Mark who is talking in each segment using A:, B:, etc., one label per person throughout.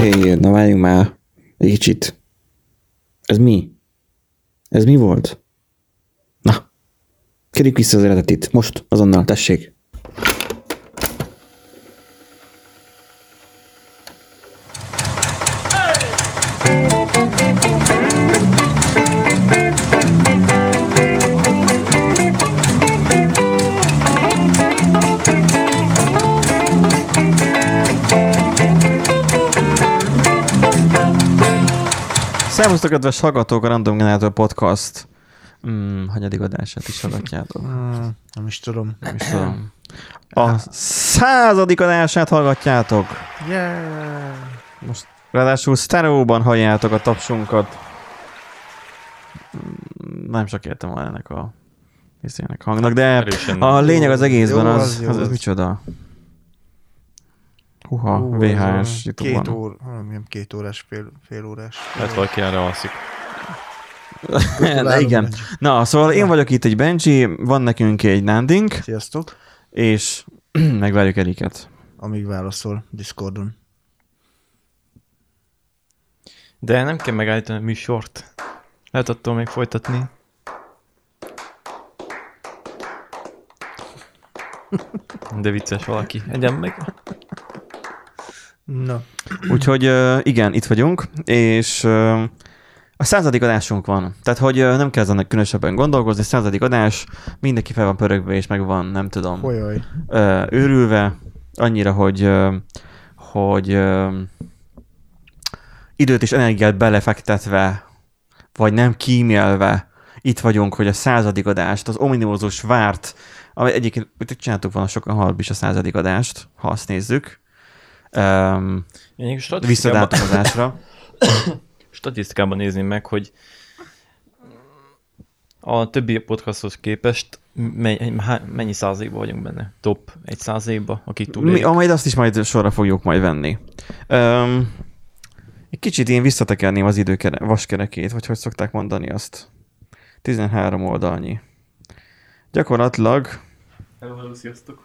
A: végén, na várjunk már egy kicsit. Ez mi? Ez mi volt? Na, kérjük vissza az eredetit. Most, azonnal, tessék.
B: Szervusztok, kedves hallgatók, a Random Generator Podcast hmm, hanyadik adását is hallgatjátok.
C: Mm, Ah. nem is tudom.
B: Nem is tudom. A századik adását hallgatjátok.
C: Yeah.
B: Most ráadásul sztereóban halljátok a tapsunkat. Hmm, Nem csak értem volna ennek a viszének hangnak, de
D: Erősen.
B: a lényeg az egészben
C: Jó,
B: az,
C: az
B: az,
C: jó,
B: az,
C: az.
B: micsoda. Huha,
C: Ú, ez
B: VHS
C: a Két
B: YouTube-ban.
C: óra, valamilyen két órás, fél, fél órás.
B: Hát
D: Lehet Hát valaki erre alszik.
B: De
C: Gratulálunk,
B: igen.
C: Benji.
B: Na, szóval én vagyok itt egy Benji, van nekünk egy Nandink,
C: Sziasztok.
B: és megvárjuk Eriket.
C: Amíg válaszol Discordon.
D: De nem kell megállítani a műsort. Lehet attól még folytatni. De vicces valaki. Egyen meg.
B: Hm.
C: Na,
B: Úgyhogy ö, igen, itt vagyunk, és ö, a századik adásunk van. Tehát, hogy ö, nem kell ezen különösebben gondolkozni, századik adás, mindenki fel van pörögve, és meg van, nem tudom,
C: olyaj.
B: ö, őrülve, annyira, hogy, ö, hogy ö, időt és energiát belefektetve, vagy nem kímélve itt vagyunk, hogy a századik adást, az ominózus várt, ami egyébként itt csináltuk volna sokan halb is a századik adást, ha azt nézzük, um,
D: Én statisztikában,
B: visszadátumozásra.
D: statisztikában nézném meg, hogy a többi podcasthoz képest mennyi, há- mennyi százalékban vagyunk benne? Top egy százalékban, akik
B: Mi,
D: túlélik.
B: a, majd azt is majd sorra fogjuk majd venni. Um, egy kicsit én visszatekerném az időkere, vaskerekét, vagy hogy szokták mondani azt. 13 oldalnyi. Gyakorlatilag
D: Hello, hello, sziasztok.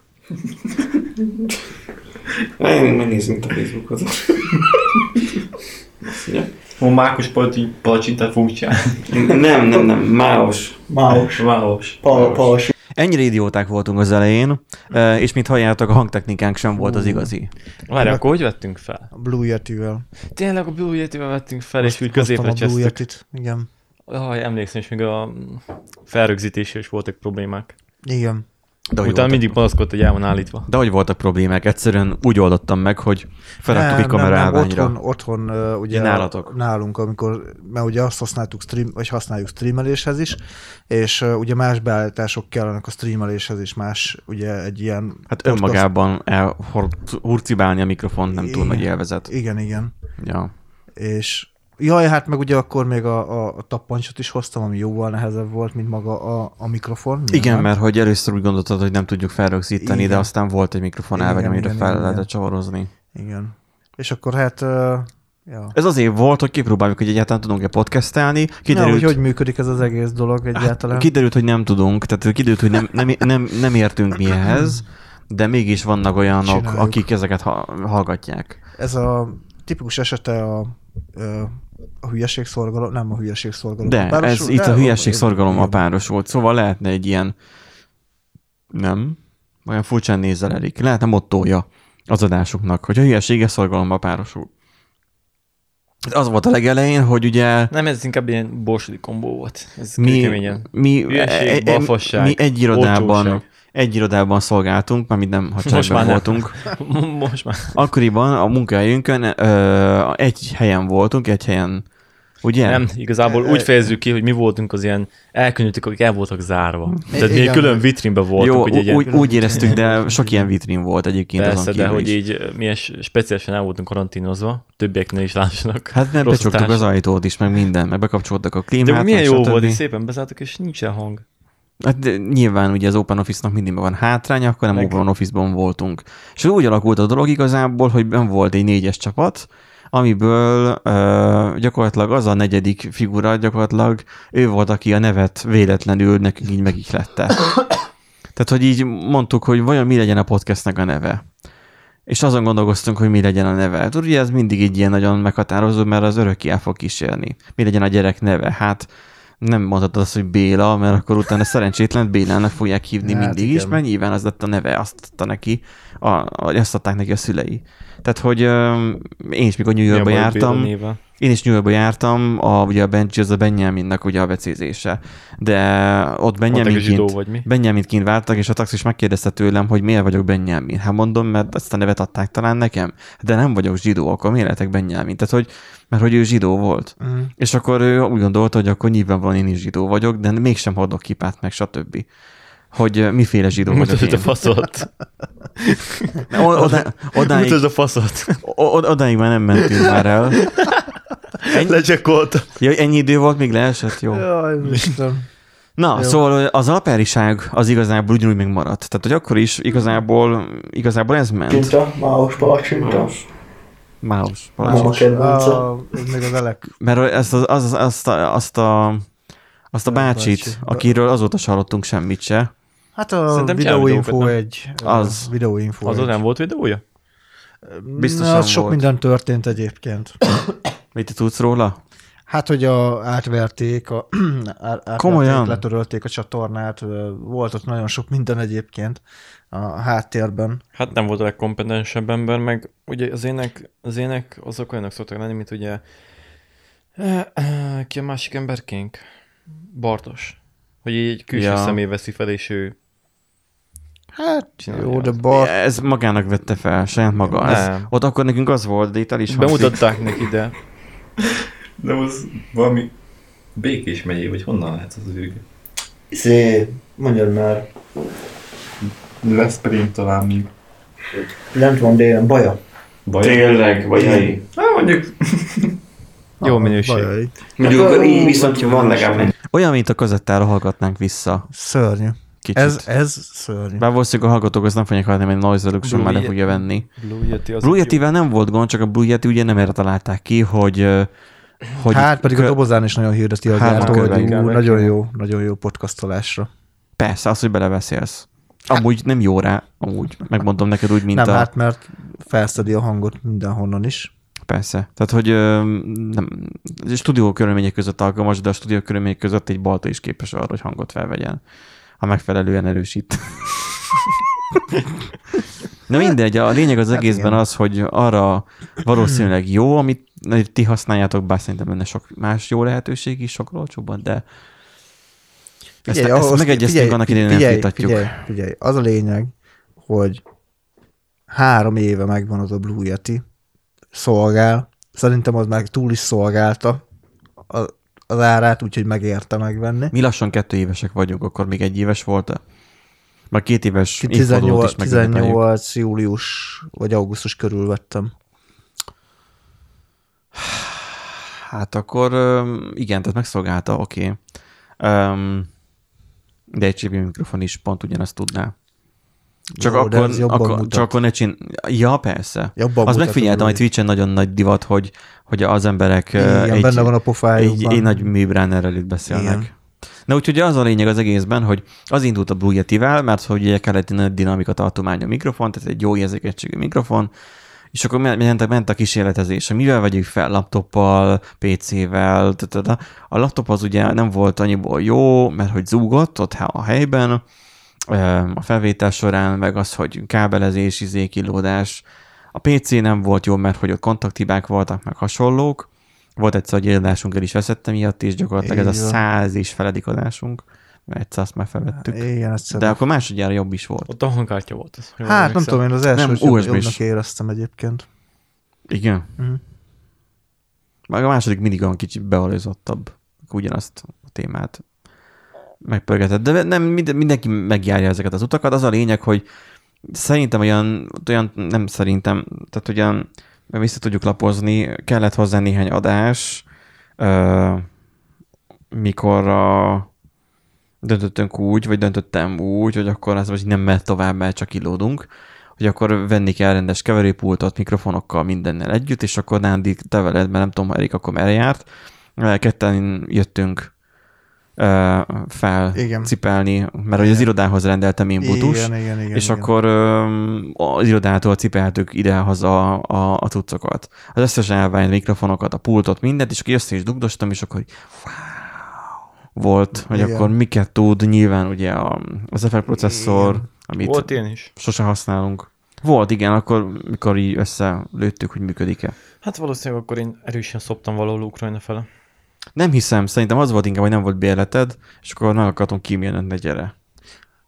E: Megnézzünk a Facebookot.
D: Ma Mákos palacsi- palacsintát fogunk csinálni.
E: nem, nem, nem, máos.
D: Máos. Máos.
B: ennyire idióták voltunk az elején, ö, és mint halljátok, a hangtechnikánk sem volt az igazi.
D: Várj, akkor hogy vettünk fel?
C: A Blue Yeti-vel.
D: Tényleg a Blue Yeti-vel vettünk fel, és úgy
C: Hoztam
D: középre
C: a Blue
D: csesztük.
C: Yetit. Igen.
D: Aj, emlékszem, és még a felrögzítésre is voltak problémák.
C: Igen.
B: De hogy,
D: Utána
B: voltak,
D: mindig panaszkodt, hogy el van állítva.
B: de hogy voltak problémák, egyszerűen úgy oldottam meg, hogy feladtuk egy kamerálványra.
C: otthon, otthon ö, ugye
B: Ja, nálatok.
C: nálunk, amikor, mert ugye azt használtuk stream, vagy használjuk streameléshez is, és ö, ugye más beállítások kellenek a streameléshez is, más ugye egy ilyen...
B: Hát
C: podcast-
B: önmagában elhurcibálni a mikrofont nem túl
C: Igen.
B: nagy élvezet.
C: Igen, igen.
B: Ja.
C: és jaj, hát meg ugye akkor még a, a, a tappancsot is hoztam, ami jóval nehezebb volt, mint maga a, a mikrofon.
B: Igen,
C: nyilván.
B: mert hogy először úgy gondoltad, hogy nem tudjuk felrögzíteni,
C: Igen.
B: de aztán volt egy mikrofon
C: Igen,
B: elvágy, amire
C: igen,
B: fel
C: igen,
B: lehetett
C: igen.
B: csavarozni.
C: Igen. És akkor hát, ö, ja.
B: Ez az év volt, hogy kipróbáljuk, hogy egyáltalán tudunk-e podcastelni. Kiderült, Hát,
C: ja, hogy, hogy működik ez az egész dolog egyáltalán.
B: kiderült, hogy nem tudunk, tehát kiderült, hogy nem, nem, nem, nem értünk mi ehhez, de mégis vannak olyanok,
C: Csináljuk.
B: akik ezeket ha- hallgatják.
C: Ez a tipikus esete a, ö, a hülyeségszorgalom, nem a hülyeségszorgalom.
B: De ez itt a hülyeség szorgalommal páros volt, szóval lehetne egy ilyen... Nem? Olyan furcsán nézel Erik. Lehetne mottója az adásoknak, hogy a hülyesége szorgalommal párosul. Az volt a legelején, hogy ugye
D: Nem, ez inkább ilyen borsodi kombó volt. Ez
B: mi,
D: kőkeményen.
B: mi,
D: Hülyeség,
B: e- e-
D: balfasság,
B: mi egy irodában,
D: olcsóság.
B: egy irodában szolgáltunk, mármint nem, ha
D: Most
B: csendben
D: már nem.
B: voltunk.
D: Most már.
B: Akkoriban a munkahelyünkön ö, egy helyen voltunk, egy helyen, ugye?
D: Nem,
B: E,
D: igazából úgy fejezzük ki, hogy mi voltunk az ilyen elkönnyültük, akik el voltak
B: Mm.
D: zárva. Tehát mi egy
C: igen.
D: külön vitrínbe voltunk.
B: Jó,
D: ugye egy
B: úgy,
D: ilyen-
B: úgy, úgy éreztük, de sok ilyen vitrin volt egyébként
D: Persze,
B: azon
D: de
B: kívül
D: hogy
B: is.
D: így mi es- speciálisan el voltunk karantínozva, többieknél is lássanak.
B: Hát nem
D: rossz
B: becsuktuk
D: hatás.
B: az ajtót is, meg minden, meg bekapcsoltak a klímát.
D: De milyen
B: meg
D: jó
B: stb.
D: volt, és szépen bezártuk, és nincsen hang.
B: Hát de nyilván ugye az Open Office-nak mindig van hátránya, akkor nem
D: Meg-
B: Open Office-ban voltunk. És úgy alakult a dolog igazából, hogy ben volt egy négyes csapat, amiből ö, gyakorlatilag az a negyedik figura, gyakorlatilag ő volt, aki a nevet véletlenül nekünk így megihlette. Tehát, hogy így mondtuk, hogy vajon mi legyen a podcastnek a neve. és azon gondolkoztunk, hogy mi legyen a neve. Tudod, ugye ez mindig így ilyen nagyon meghatározó, mert az örökké el fog kísérni. Mi legyen a gyerek neve? Hát nem mondhatod azt, hogy Béla, mert akkor utána szerencsétlen Bélának fogják hívni
C: Hát
B: hát mindig
C: igen.
B: igen. is, mert nyilván az lett a neve, azt adta neki, a, a, azt adták neki a szülei. Tehát, hogy öm, én is mikor New Yorkba
F: Mi a baj
B: jártam,
F: Béla néven?
B: én is New Yorkba jártam, a, ugye a Benji az a Benjaminnak ugye a becézése. De ott
F: Mondták, hogy zsidó
B: Benjaminként,
F: vagy mi.
B: Benjaminként vártak, és a taxis megkérdezte tőlem, hogy miért vagyok Benjamin. Hát mondom, mert ezt a nevet adták talán nekem, de nem vagyok zsidó, akkor miért lehetek Benjamin? Tehát, hogy, mert hogy ő zsidó volt.
F: Mhm.
C: Mm.
B: És akkor ő úgy gondolta, hogy akkor nyilvánvalóan én is zsidó vagyok, de mégsem hordok kipát meg, stb. Hogy ö, miféle zsidó vagyok
F: Mutasd
B: én.
F: a faszot.
B: O- Oda, odáig,
F: Mutasd a faszot.
B: o- odáig már nem mentünk már el.
F: Lecsekkoltam.
B: Ja, ennyi idő volt, még leesett, jó.
C: Jaj, Istenem.
B: Na,
C: Jó.
B: Jó. szóval az alapjáriság az igazából ugyanúgy megmaradt. Tehát, hogy akkor is igazából, igazából ez ment.
G: Csinta, máos palacsinta.
E: Máos.
B: Máus.
G: Máma
B: Balázs.
G: kedvence.
C: Ah, ez még az elek.
B: Mert ezt az, az, azt, a, azt a azt a
C: Nem,
B: bácsit,
C: bácsi.
B: akiről azóta se hallottunk semmit se.
C: Hát a
F: Szerintem
C: videóinfó
F: csinál
C: egy.
B: Az.
C: a Videóinfó
F: Azon
C: egy.
F: nem volt videója?
B: biztosan
C: Na, az sok
B: volt.
C: minden történt egyébként.
B: Mit te tudsz róla?
C: Hát, hogy a, átverték, a, átverték,
B: Komolyan?
C: letörölték a csatornát, ö, volt ott nagyon sok minden egyébként a háttérben.
F: Hát nem volt a legkompetensebb ember, meg ugye az ének, az ének azok olyanok szoktak lenni, mint ugye eh, eh, ki a másik emberkénk? Bartos. Hogy így külső
B: Ja.
F: ja. személy veszi fel, és ő
C: Hát,
F: Csinálja
C: jó, de
F: azt.
C: bar...
B: Ez magának vette fel, saját maga. Ez,
F: Nem.
B: ott akkor nekünk az volt, de itt el is hangzik.
F: bemutatták neki, de
H: De az valami békés megyé, vagy honnan lehet az ők?
G: Szé, Izé, mondjad már,
H: Veszprém talán még.
G: lent van délen, baja.
H: Baj.
E: Tényleg, vagy helyi.
H: Hát mondjuk
F: jó minőség.
C: Bajai.
E: Mondjuk így viszont van legalább egy.
B: Olyan, mint a kazettára hallgatnánk vissza.
C: Szörnyű.
B: Kicsit.
C: Ez,
B: Ez...
C: ez szörnyű.
B: Bár valószínűleg a hallgatók azt nem fogják hallani, mert noise reduction már nem
F: Blue
B: fogja venni.
F: Blue Yeti az
B: Blue
F: jó.
B: Yeti-vel nem volt gond, csak a Blue Yeti ugye nem erre találták ki, hogy... ö, hogy
C: hát pedig a
B: kö-
C: dobozán is nagyon hirdeti a
B: Hárman
C: gyártó, hogy
B: körben
C: ú,
F: kell
C: nagyon jó, nagyon jó podcastolásra.
B: Persze, az, hogy beleveszélsz. Amúgy nem jó rá, amúgy. Megmondom neked úgy, mint
C: Nem,
B: a...
C: hát mert felszedi a hangot mindenhonnan is.
B: Persze. Tehát, hogy ö, nem, a stúdió körülmények között alkalmas, de a stúdió körülmények között egy balta is képes arra, hogy hangot felvegyen, ha megfelelően erősít. Na mindegy, a lényeg az egészben
C: Hát igen.
B: az, hogy arra valószínűleg jó, amit ti használjátok, bár szerintem benne sok más jó lehetőség is, sokkal olcsóbban, de ezt,
C: Figyelj,
B: ezt
C: ahhoz-
B: megegyeztünk
C: figyelj,
B: annak idején, nem
C: figyelj,
B: folytatjuk.
C: Figyelj, figyelj, az a lényeg, hogy három éve megvan az a Blue Yeti, szolgál, szerintem az már túl is szolgálta a- az árát, úgyhogy megérte megvenni.
B: Mi lassan kettő évesek vagyunk, akkor még egy éves volt Már két éves
C: Ki
B: évfordulót
C: 18,
B: is megünnepeljük.
C: 18 július vagy augusztus körül vettem.
B: Hát akkor öm, igen, tehát megszolgálta, oké. Okay. De egy csípi mikrofon is pont ugyanazt tudná. Csak,
C: Jó, de
B: akkor,
C: ez jobban
B: akkor,
C: mutat.
B: csak akkor ne csin... Ja, persze.
C: Jobban
B: Azt
C: mutat,
B: megfigyeltem,
C: úgy.
B: hogy Twitch-en nagyon nagy divat, hogy, hogy az emberek
C: Igen,
B: ö, egy,
C: benne van a
B: egy,
C: pofájukban.
B: egy nagy műbránerrel itt beszélnek.
C: Igen.
B: Igen. Na úgyhogy az a lényeg az egészben, hogy az indult a Blue Yeti-vel, mert hogy ugye kellett egy nagy dinamika tartomány a mikrofon, tehát egy jó érzékenységű mikrofon, és akkor men- ment, a- ment a kísérletezés, hogy mivel vegyük fel, laptoppal, PC-vel, tata. a laptop az ugye nem volt annyiból jó, mert hogy zúgott ott há- a helyben, ö, a felvétel során, meg az, hogy kábelezés, izékilódás, a PC nem volt jó, mert hogy ott kontaktibák voltak, meg hasonlók, volt egyszer, hogy egy adásunk el is veszette miatt, és gyakorlatilag ez
C: Így
B: a
C: van.
B: száz is feledik adásunk, mert egyszer azt már felvettük.
C: Igen, egyszer.
B: De akkor másodjára jobb is volt.
F: Ott a hangkártya volt. Az, jól
C: hát nem
F: emlékszem.
C: tudom, én az első
B: Nem,
C: jobb,
B: USB-s.
C: jobbnak éreztem egyébként.
B: Igen.
C: Mhm.
B: Uh-huh. Meg a második mindig olyan kicsit bealőzottabb, ugyanazt a témát megpörgetett. De nem, mind- mindenki megjárja ezeket az utakat. Az a lényeg, hogy szerintem olyan, olyan nem szerintem, tehát olyan vissza tudjuk lapozni, kellett hozzá néhány adás, ö, mikor a, döntöttünk úgy, vagy döntöttem úgy, hogy akkor az most nem mehet tovább, mert csak illódunk, hogy akkor venni kell rendes keverőpultot, mikrofonokkal, mindennel együtt, és akkor Nándi, te veled, mert nem tudom, ha Erik akkor merre járt, Eh, ketten jöttünk ö, felcipelni, mert hogy az irodához rendeltem inputus,
C: igen, igen, igen,
B: és
C: igen.
B: akkor öm, az irodától cipeltük idehaza a, a, a cuccokat. Az összes elványt, mikrofonokat, a pultot, mindent, és akkor össze is dugdostam, és akkor így, wow, volt, hogy
C: Igen.
B: akkor miket tud, nyilván ugye a, az FL processzor, amit
F: Volt ilyen is.
B: sose használunk. Volt, igen, akkor mikor így összelőttük, hogy működik-e.
F: Hát valószínűleg akkor én erősen szoptam valahol Ukrajna fele.
B: Nem hiszem, szerintem az volt inkább, hogy nem volt bérleted, és akkor meg akartam kímélni, hogy gyere.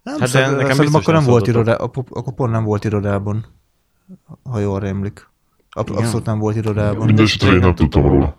C: Nem,
F: Hát
C: hát
F: de nekem
C: szerintem
F: biztos
C: akkor nem
F: nem
C: volt
F: szóltatok.
C: irodá, akkor akkor pont nem volt irodában, ha jól rémlik. Ab-
B: Igen.
C: abszolút nem volt irodában.
D: Mindesetre én nem tudtam róla.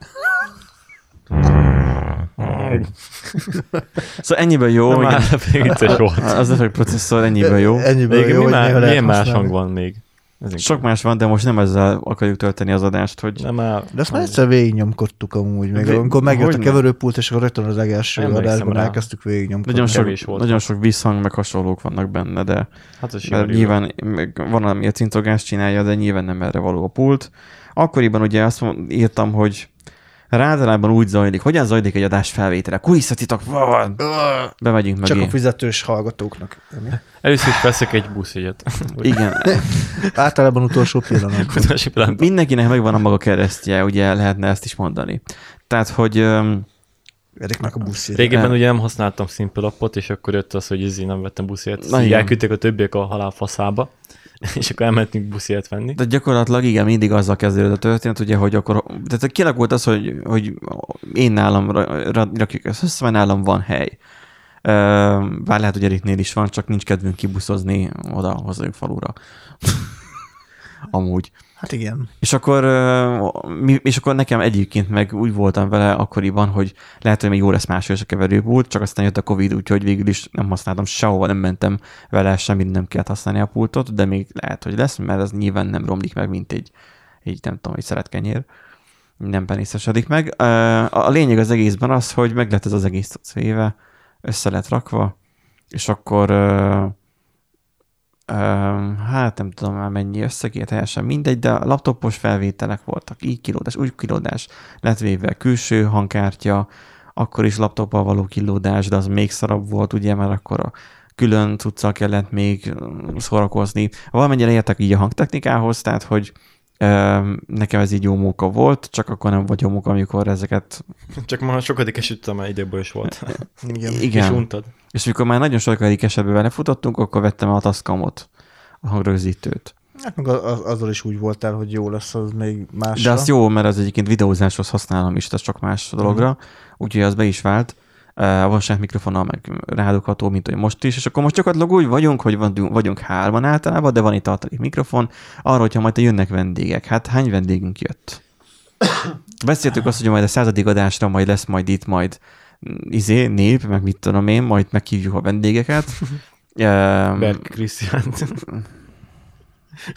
B: Szóval ennyiből jó,
F: Nem,
B: igen.
F: már vicces volt.
B: Az effekt processzor ennyiből jó.
C: Ennyiből
F: Még
C: jó,
F: mi
C: hogy
F: már,
C: néha lehet
F: milyen más
C: használni.
F: hang van még? Ez inkább.
B: Sok más van, de most nem ezzel akarjuk tölteni az adást, hogy
F: Nem már...
C: De ezt már egyszer végignyomkodtuk amúgy, még
B: Vé-
C: amikor megjött a
B: Hogyne.
C: keverőpult, és akkor rögtön az első
F: Emlékszem
C: adásban
F: rá.
C: elkezdtük
B: nagyon
C: végignyomkodni.
B: sok,
F: kevés volt.
B: nagyon sok visszhang meg hasonlók vannak benne, de,
F: Hát ez
B: de
F: sikerül.
B: nyilván meg van, ami a cintogást csinálja, de nyilván nem erre való a pult. Akkoriban ugye azt mond- írtam, hogy rátalában úgy zajlik, hogyan zajlik egy adás felvétele. Kulisszatitok van! Bemegyünk
C: Csak
B: mögé.
C: a fizetős hallgatóknak. Emi.
F: Először is veszek egy buszjegyet.
B: Igen,
C: Általában utolsó pillanat.
F: Utazási pillanat.
B: mindenkinek megvan a maga keresztje, ugye lehetne ezt is mondani. Tehát, hogy öm,
C: Eriknek a buszjét.
F: Régebben
B: El-
F: ugye nem használtam Simple appot, és akkor jött az, hogy izé nem vettem buszjegyet.
B: Na
F: Na, így
B: igen.
F: elküldték a többiek a halál faszába, és akkor elmentünk buszjegyet venni.
B: de gyakorlatilag igen, mindig azzal kezdődött a történet, ugye, hogy akkor, tehát kialakult az, hogy, hogy én nálam ra- ra- rakjuk ezt össze, mert nálam van hely. Öm, Bár lehet, hogy Eriknél is van, csak nincs kedvünk kibuszozni oda hozzájuk falura. Amúgy.
C: Hát igen.
B: És akkor, ö, mi- és akkor nekem egyébként meg úgy voltam vele akkoriban, hogy lehet, hogy még jó lesz máshogy is a keverőpult, csak aztán jött a Covid, úgyhogy végül is nem használtam sehova, nem mentem vele, semmit nem kellett használni a pultot, de még lehet, hogy lesz, mert ez nyilván nem romlik meg, mint egy, így nem tudom, egy szeretkenyér. Nem penészesedik meg. Ö, A a lényeg az egészben az, hogy meg lett ez az egész cucc éve, össze lett rakva, és akkor ö, Öm, hát nem tudom már mennyi összegért, teljesen mindegy, de laptopos felvételek voltak, így kilódás, úgy kilódás, lett véve külső hangkártya, akkor is laptoppal való kilódás, de az még szarabb volt, ugye, mert akkor a külön cuccal kellett még öm, szórakozni. Valamennyire értek így a hangtechnikához, tehát, hogy öm, nekem ez így jó móka volt, csak akkor nem vagy jó móka, amikor ezeket...
F: Csak ma a sokadik esetben már idéből is volt.
C: igen.
F: És untad.
B: És mikor már nagyon sokadik esetben belefutottunk, akkor vettem el a Tascamot, a hangrögzítőt.
C: Hát meg a- a- azzal is úgy voltál, hogy jó lesz az még más.
B: De az jó, mert az egyébként videózáshoz használom is, tehát csak más dologra,
F: Mhm.
B: úgyhogy az be is vált. Eh, A valóság mikrofonnal meg rádugható, mint hogy most is, és akkor most gyakorlatilag úgy vagyunk, hogy van- vagyunk hárman általában, de van itt tartalék mikrofon, arra, hogyha majd jönnek vendégek. Hát hány vendégünk jött? Beszéltük azt, hogy majd a századik adásra majd lesz majd itt majd mm, izé, nép, meg mit tudom én, majd meghívjuk a vendégeket. Ehm,
F: Berg Krisztián.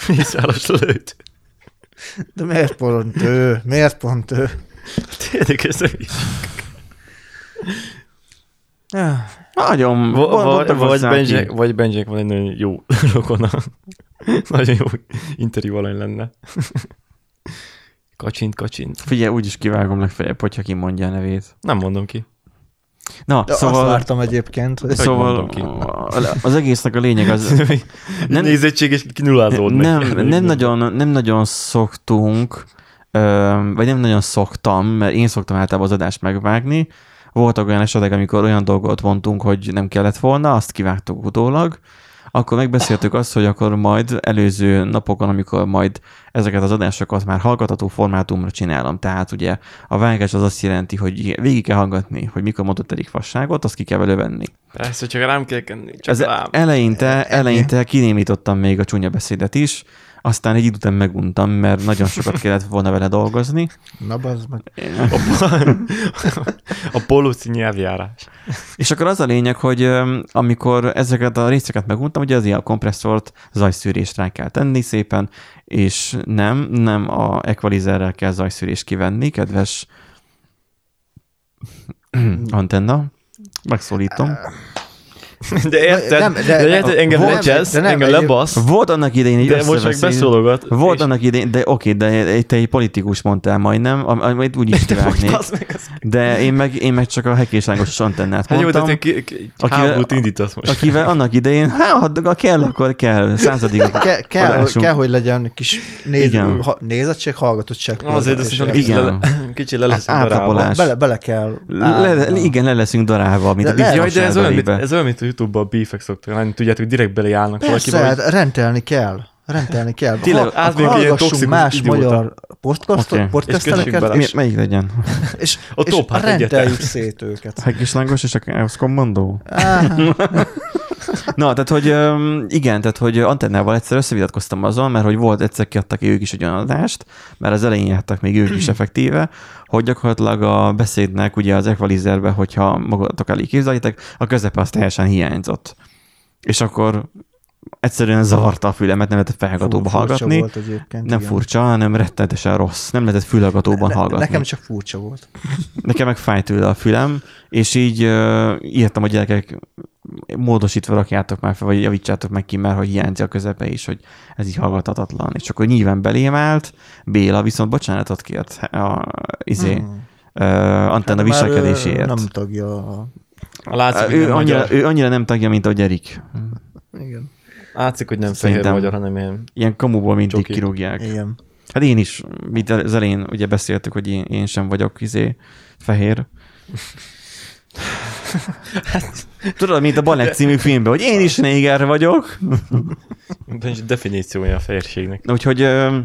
F: Mészáros lőtt.
C: De miért pont ő? Miért pont ő?
F: Tényleg ez a
B: Nagyon.
F: Va- va-
B: boldogtak
F: vagy,
B: hozzá ki.
F: Benjek, vagy Benjek van egy nagyon jó rokona. nagyon jó interjú alany lenne. kacsint, kacsint.
B: Figyelj, úgyis kivágom legfeljebb, hogyha kimondja a nevét.
F: Nem mondom ki.
B: Na,
C: De szóval... Azt
B: szóval,
C: vártam egyébként, hogy
B: szóval
F: mondom ki.
B: az egésznek a lényeg az,
F: Nem,
B: Nem-
F: Nézettség és kinullázód
B: nem, nem, nagyon, nem nagyon szoktunk, öm, vagy nem nagyon szoktam, mert én szoktam általában az adást megvágni. Voltak olyan esetek, amikor olyan dolgot mondtunk, hogy nem kellett volna, azt kivágtuk utólag. Akkor megbeszéltük azt, hogy akkor majd előző napokon, amikor majd ezeket az adásokat már hallgatható formátumra csinálom. Tehát ugye a vágás az azt jelenti, hogy végig kell hallgatni, hogy mikor mondott Erik fasságot, azt ki kell belővenni.
F: Persze, csak rám kell kenni. Csak
B: Ez e-
F: rám.
B: eleinte, eleinte kinémítottam még a csúnya beszédet is, aztán egy idő után meguntam, mert nagyon sokat kellett volna vele dolgozni.
C: na bazd meg.
F: A poluci nyelvjárás.
B: És akkor az a lényeg, hogy öm, amikor ezeket a részeket meguntam, ugye az ilyen kompresszort, zajszűrést rá kell tenni szépen, és nem, nem a equalizerrel kell zajszűrést kivenni, kedves antenna, megszólítom.
D: De érted?
C: Nem,
D: Nem,
C: de-
D: de, de, érted,
C: de-
D: engem
C: nem,
D: lecsesz,
C: de nem,
D: engem
C: egyéb-
D: lebasz,
B: Volt annak idején egy
D: de most meg beszólogat.
B: Volt
D: és-
B: annak idején, de oké, de te egy politikus mondtál majdnem, am- amit úgy is
D: de
B: kivágnék.
D: most az meg az...
B: De én meg, én meg csak a hekésángos antennát
D: Hát jó, de
B: mondtam,
D: te ki- ki-
B: akivel-
D: háborút indítasz most.
B: akivel annak idején, hát ha kell, akkor kell, századig.
C: Ke- kell,
B: Adásunk.
C: kell, hogy legyen kis néz,
B: Igen.
C: ha, nézettség, hallgatottság.
D: Azért azt is mondom, kicsit
B: Igen. Hát
D: le, kicsi le lesz
B: Átápolás.
C: Bele, bele kell.
B: Le, le, igen, le leszünk darálva, mint a
C: Le- le-
B: bizonyos
D: Jaj, de ez olyan, mint,
B: elbelébe.
D: ez olyan, mint a YouTube-ban a beefek szoktak lenni, tudjátok, direkt beleállnak
C: Persze,
D: valakibe, hogy
C: hát rendelni kell. Rendelni kell.
D: Tényleg,
C: Ha-
D: az még ilyen
C: hallgassunk
D: toxikus
C: más
D: idióta.
C: magyar podcast,
B: Oké.
C: okay.
B: És
D: kössük bele.
C: podcastereket,
B: Mi,
C: és,
B: melyik legyen?
C: és,
D: A
C: és
D: top, hát
C: rendeljük
D: egyetem.
C: szét őket.
B: Hekésángos és a Chaos Commando?
C: Ah,
B: Na, tehát, hogy öm, igen, tehát, hogy antennával egyszer összevitatkoztam azon, mert hogy volt, egyszer kiadtak ők is egy olyan adást, mert az elején jártak még ők is effektíve, hogy gyakorlatilag a beszédnek ugye az equalizerbe, hogyha magatok elé képzeljétek, a közepe az teljesen hiányzott. És akkor egyszerűen zavarta a fülemet, nem lehetett felhallgatóba
C: furcsa
B: hallgatni.
C: Volt egyébként,
B: Nem
C: igen.
B: furcsa, hanem rettenetesen rossz. Nem lehetett fülhallgatóban
C: Ne-
B: hallgatni.
C: Nekem csak furcsa volt.
B: Nekem meg fáj tőle a fülem, és így uh, írtam a gyerekek, módosítva rakjátok már fel, vagy javítsátok meg ki, mert hogy hiányzik a közepe is, hogy ez így hallgathatatlan. És akkor nyilván belém állt, Béla viszont bocsánatot kért a, izé, hmm.
C: Hmm.
B: uh, antenna
C: Már, ö,
B: viselkedéséért.
C: Nem tagja a...
F: A látszik,
D: Hát,
F: hogy
B: Ö,
F: nem
B: ő, annyira,
F: magyar.
B: ő annyira nem tagja, mint a Erik.
C: Igen.
F: Látszik, hogy nem fehér
B: Szerintem.
F: magyar, hanem ilyen.
B: Ilyen kamuból mindig
F: Csoki.
B: kirúgják.
C: igen.
B: Hát én is, mint az elején ugye beszéltük, hogy én, én sem vagyok izé, fehér. Tudod, mint a Balek című filmben, hogy én is néger vagyok.
D: nincs definíciója a fehérségnek.
B: Úgyhogy ö,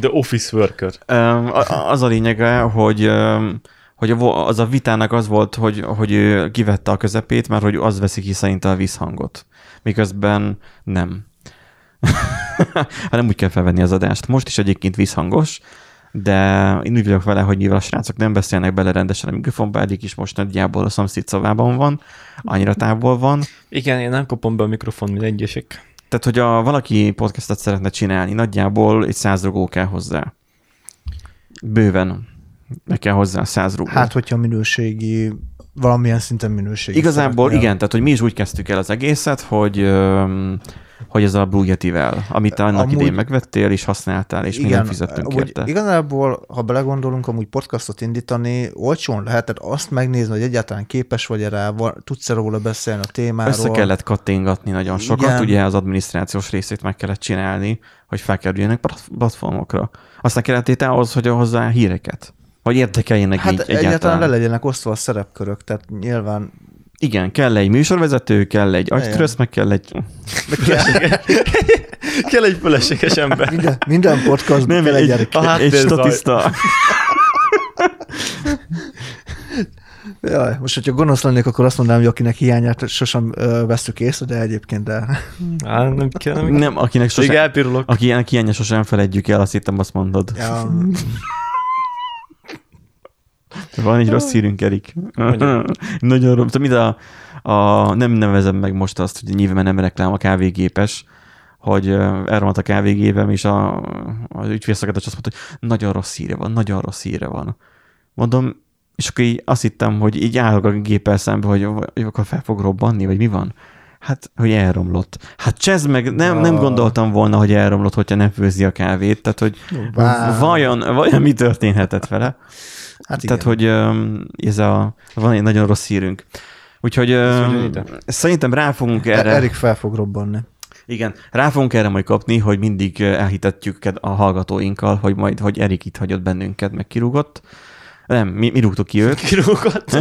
D: The office worker.
B: ö, a- a- az a lényege, hogy ö, hogy a vo- az a vitának az volt, hogy, hogy ő kivette a közepét, mert hogy az veszi ki szerinte a visszhangot. Miközben nem. hanem úgy kell felvenni az adást. Most is egyébként visszhangos, de én úgy vagyok vele, hogy mivel a srácok nem beszélnek bele rendesen a mikrofonba, egyik is most nagyjából a szomszéd szobában van, annyira távol van.
D: Igen, én nem kopom be a mikrofon, mint egyesek.
B: Tehát, hogy a, valaki podcastet szeretne csinálni, nagyjából egy száz rugó kell hozzá. Bőven. Meg kell hozzá száz rugó.
C: Hát, hogyha minőségi, valamilyen szinten minőségi.
B: Igazából
C: szeretnél.
B: igen, tehát hogy mi is úgy kezdtük el az egészet, hogy öm, hogy ez a Blue Yeti-vel, amit annak
C: Amúgy-
B: Amúgy... idén megvettél, és használtál, és mi nem fizettünk
C: amúgy
B: érte.
C: Igazából, ha belegondolunk, amúgy podcastot indítani olcsón lehet, tehát azt megnézni, hogy egyáltalán képes vagy rá, va- tudsz-e róla beszélni a témáról.
B: Össze kellett kattingatni nagyon sokat,
C: Igen.
B: Igen. ugye az adminisztrációs részét meg kellett csinálni, hogy felkerüljenek plat- platformokra. Aztán kellett tétel ahhoz, hogy hozzá híreket. Vagy érdekeljenek
C: Hát
B: hát így
C: egyáltalán,
B: egyáltalán.
C: egyáltalán le legyenek osztva a szerepkörök, tehát nyilván
B: Igen, kell egy műsorvezető, kell egy agytrösz, meg kell egy...
D: Kell egy feleséges ember.
C: minden, minden podcastban kell egy gyerek.
B: egy, egy
D: háttérzaj.
B: statiszta.
C: Jaj, most, hogyha gonosz lennék, akkor azt mondanám, hogy akinek hiányát sosem ö, veszük észre, de egyébként de...
D: Á, nem kell, nem kell.
B: Nem, akinek
D: Még
B: sosem...
D: elpirulok.
B: Aki ilyen hiánya sosem felejtjük el, azt hittem azt mondod.
C: Ja,
B: Van egy rossz hírünk, Erik. Nagyon rossz. Mint a, a, nem nevezem meg most azt, hogy nyilván nem reklám a kávégépes, hogy ö, elromadt a kávégépem, és a, az ügyfélszolgálatos azt mondta, hogy nagyon rossz híre van, nagyon rossz híre van. Mondom, és akkor így azt hittem, hogy így állok a géppel szembe, hogy, hogy akkor fel fog robbanni, vagy mi van? Hát, hogy elromlott. Hát csezd meg, nem, nem
C: Ah.
B: gondoltam volna, hogy elromlott, hogyha nem főzi a kávét, tehát hogy
C: Wow.
B: vajon, vajon mi történhetett vele?
C: hát igen.
B: Tehát, hogy öm, ez a, van egy nagyon rossz hírünk. Úgyhogy öm, szerintem rá fogunk erre,
C: erre... E- Erik fel fog robbanni.
B: igen, rá fogunk erre majd kapni, hogy mindig ö, elhitetjük ked- a hallgatóinkkal, hogy majd, hogy Erik itt hagyott bennünket, meg kirúgott. Nem, mi, mi rúgtuk ki őt.
D: Kirúgott.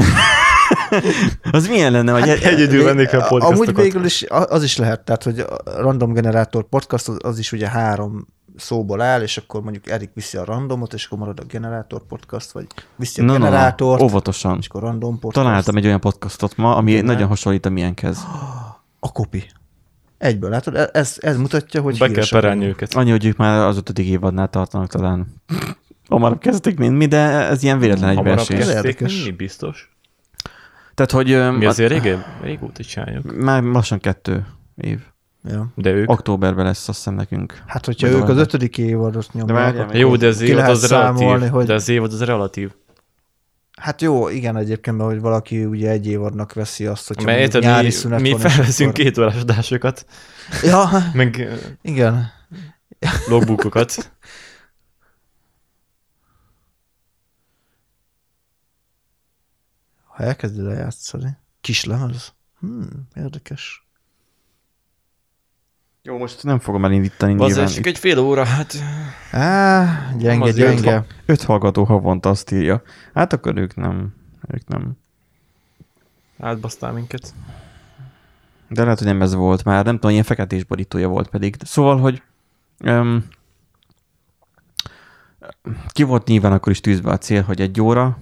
B: Az milyen lenne, hogy hát,
D: Egyedül
C: Vég-
D: vennék a
C: Amúgy
D: podcastokat.
C: végül is a- az is lehet, tehát hogy a random generátor podcast az, az is ugye három szóból áll, és akkor mondjuk Erik viszi a randomot, és akkor marad a generátor podcast, vagy viszi a
B: na, na, na,
C: generátort,
B: óvatosan.
C: és akkor random podcast.
B: Találtam egy olyan podcastot ma, ami nagyon hasonlít a miénkhez.
C: A kopi. Egyből, látod? E- Ez, ez mutatja, hogy
D: Be kell
C: híresek
D: perelni
C: vagyunk.
D: őket.
B: Annyi, hogy ők már az ötödik évadnál tartanak talán. Hamarabb kezdték, mint mi, de ez ilyen véletlen
D: Hamarabb
B: egybeesés.
C: kezdték.
D: kezdték,
C: Érdekes.
D: mi biztos.
B: Tehát, hogy öm,
D: Mi
B: a-
D: azért régebb, régóta csináljuk.
B: már lassan kettő év.
C: Ja.
D: De ők.
B: Októberben lesz azt hiszem nekünk.
C: Hát, hogyha
B: Vagy
C: ők az
B: valami.
C: ötödik évadot nyomják,
B: várjál,
C: akkor
D: Jó, de az
C: ki
D: évad
C: lehet
D: az
C: számolni,
D: relatív.
C: hogy-
D: De az évad az relatív.
C: Hát jó, igen egyébként, mert hogy valaki ugye egy évadnak veszi azt, hogy
D: Mert érted,
C: nyári
D: mi,
C: szünet
D: mi
C: van, és
D: felveszünk
C: akkor-
D: két órás adásokat,
C: Ja,
D: meg ö,
C: igen.
D: logbookokat.
C: Ha elkezdi lejátszani. Kis lemez. Hmm, érdekes.
B: Jó, most nem fogom elindítani
D: Azért
B: nyilván.
D: csak egy fél óra, hát
C: Á, gyenge,
D: azért
C: gyenge.
B: Öt hallgató havonta azt írja. Hát akkor ők nem. Ők nem.
D: átbasztál minket.
B: De lehet, hogy nem ez volt már. Nem tudom, ilyen feketés borítója volt pedig. Szóval, hogy um, ki volt nyilván akkor is tűzve a cél, hogy egy óra,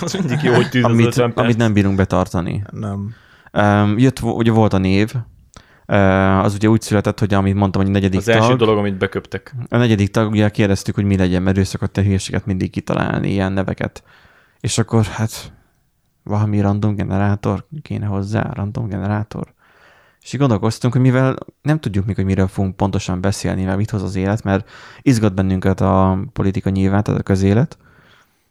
D: Az mindig jó, hogy tűz az
B: amit,
D: 50 perc.
B: amit nem bírunk betartani.
C: Nem.
B: Um, jött, vo- ugye volt a név, uh, az ugye úgy született, hogy amit mondtam, hogy negyedik
D: Az első
B: tag,
D: dolog, amit beköptek.
B: A negyedik tag, ugye kérdeztük, hogy mi legyen, mert ő szokott a hülyeséget mindig kitalálni, ilyen neveket. És akkor hát valami random generátor kéne hozzá, random generátor. És így gondolkoztunk, hogy mivel nem tudjuk még, hogy miről fogunk pontosan beszélni, mert mit hoz az élet, mert izgat bennünket a politika nyilván, tehát a közélet,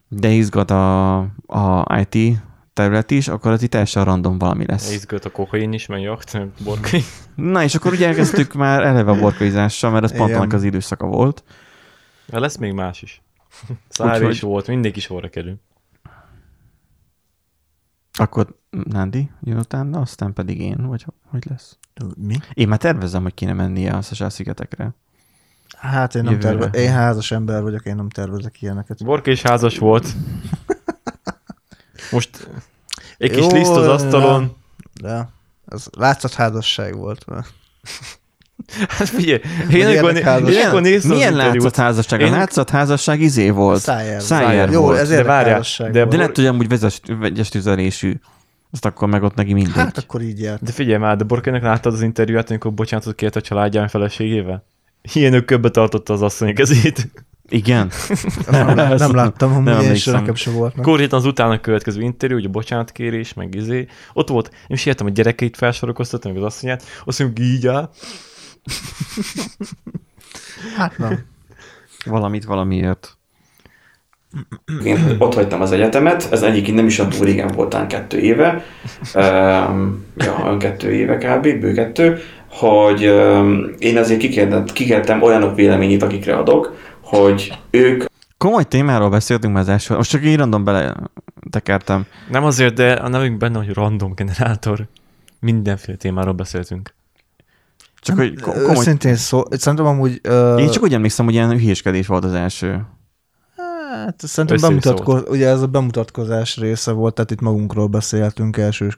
B: de izgat a, a IT terület is, akkor az itt teljesen random valami lesz.
D: Izgött a kokain is, meg hát, jakt, meg borkai.
B: Na, és akkor ugye elkezdtük már eleve a borkaizással, mert ez pont
C: Igen.
B: annak az időszaka volt.
D: De lesz még más is. Szári
B: Úgyhogy-
D: is volt, mindig is orra kerül.
B: Akkor Nándi jön utána, aztán pedig én, vagy hogy lesz?
C: Mi?
B: Én már tervezem, hogy kéne mennie a Szesel szigetekre.
C: Hát én nem
B: Jövőre.
C: tervezek. Én házas ember vagyok, én nem tervezek ilyeneket.
D: Borka is házas volt. Most egy kis
C: Jó,
D: liszt az asztalon.
C: De ez látszat házasság volt. Mert...
D: Hát figyelj, én
C: Milyen
D: akkor,
C: házasság?
D: né- én akkor néztem
B: milyen
D: az interjút.
B: látszott házasság? A
D: Én-
B: látszott házasság izé volt.
C: Szájer.
B: Szájer
C: Jó,
B: volt.
C: ez
D: De
C: érdek
D: várjál,
C: házasság
D: de
C: volt.
B: De lehet, hogy amúgy vezes, vegyes tüzelésű. Azt akkor meg ott neki mindegy.
C: Hát akkor így járt.
D: De figyelj már, de Borkának láttad az interjúját, amikor bocsánatot kért a családján feleségével? Ilyen ökköbbe tartotta az asszony kezét.
B: Igen.
C: Nem, nem,
B: Ezt
C: nem láttam,
B: nem
C: amúgy én se
B: emlékszem.
C: nekem se volt. meg.
D: Konkrétan az utána következő interjú, ugye bocsánatkérés, meg izé. Ott volt, én is értem, a gyerekeit felsorokoztatom, meg az asszonyát. Azt mondjuk így áll.
C: Hát nem.
B: Valamit valamiért.
E: Én ott hagytam az egyetemet, ez egyik nem is olyan túl régen volt, talán kettő éve, um, ja, olyan kettő éve kb, bő kettő, hogy um, én azért kikérdet- kikértem olyanok véleményét, akikre adok, hogy ők
B: Komoly témáról beszéltünk már az első. Most csak így random bele tekertem.
D: Nem azért, de a nevünk benne, hogy random generátor. Mindenféle témáról beszéltünk.
B: Csak hogy ko- komoly...
C: Őszintén szó, szerintem amúgy... ö,
B: Én csak úgy emlékszem, hogy ilyen hülyéskedés volt az első.
C: Hát szerintem
D: Össze-vissza
C: bemutatkoz, ugye ez a bemutatkozás része volt, tehát itt magunkról beszéltünk első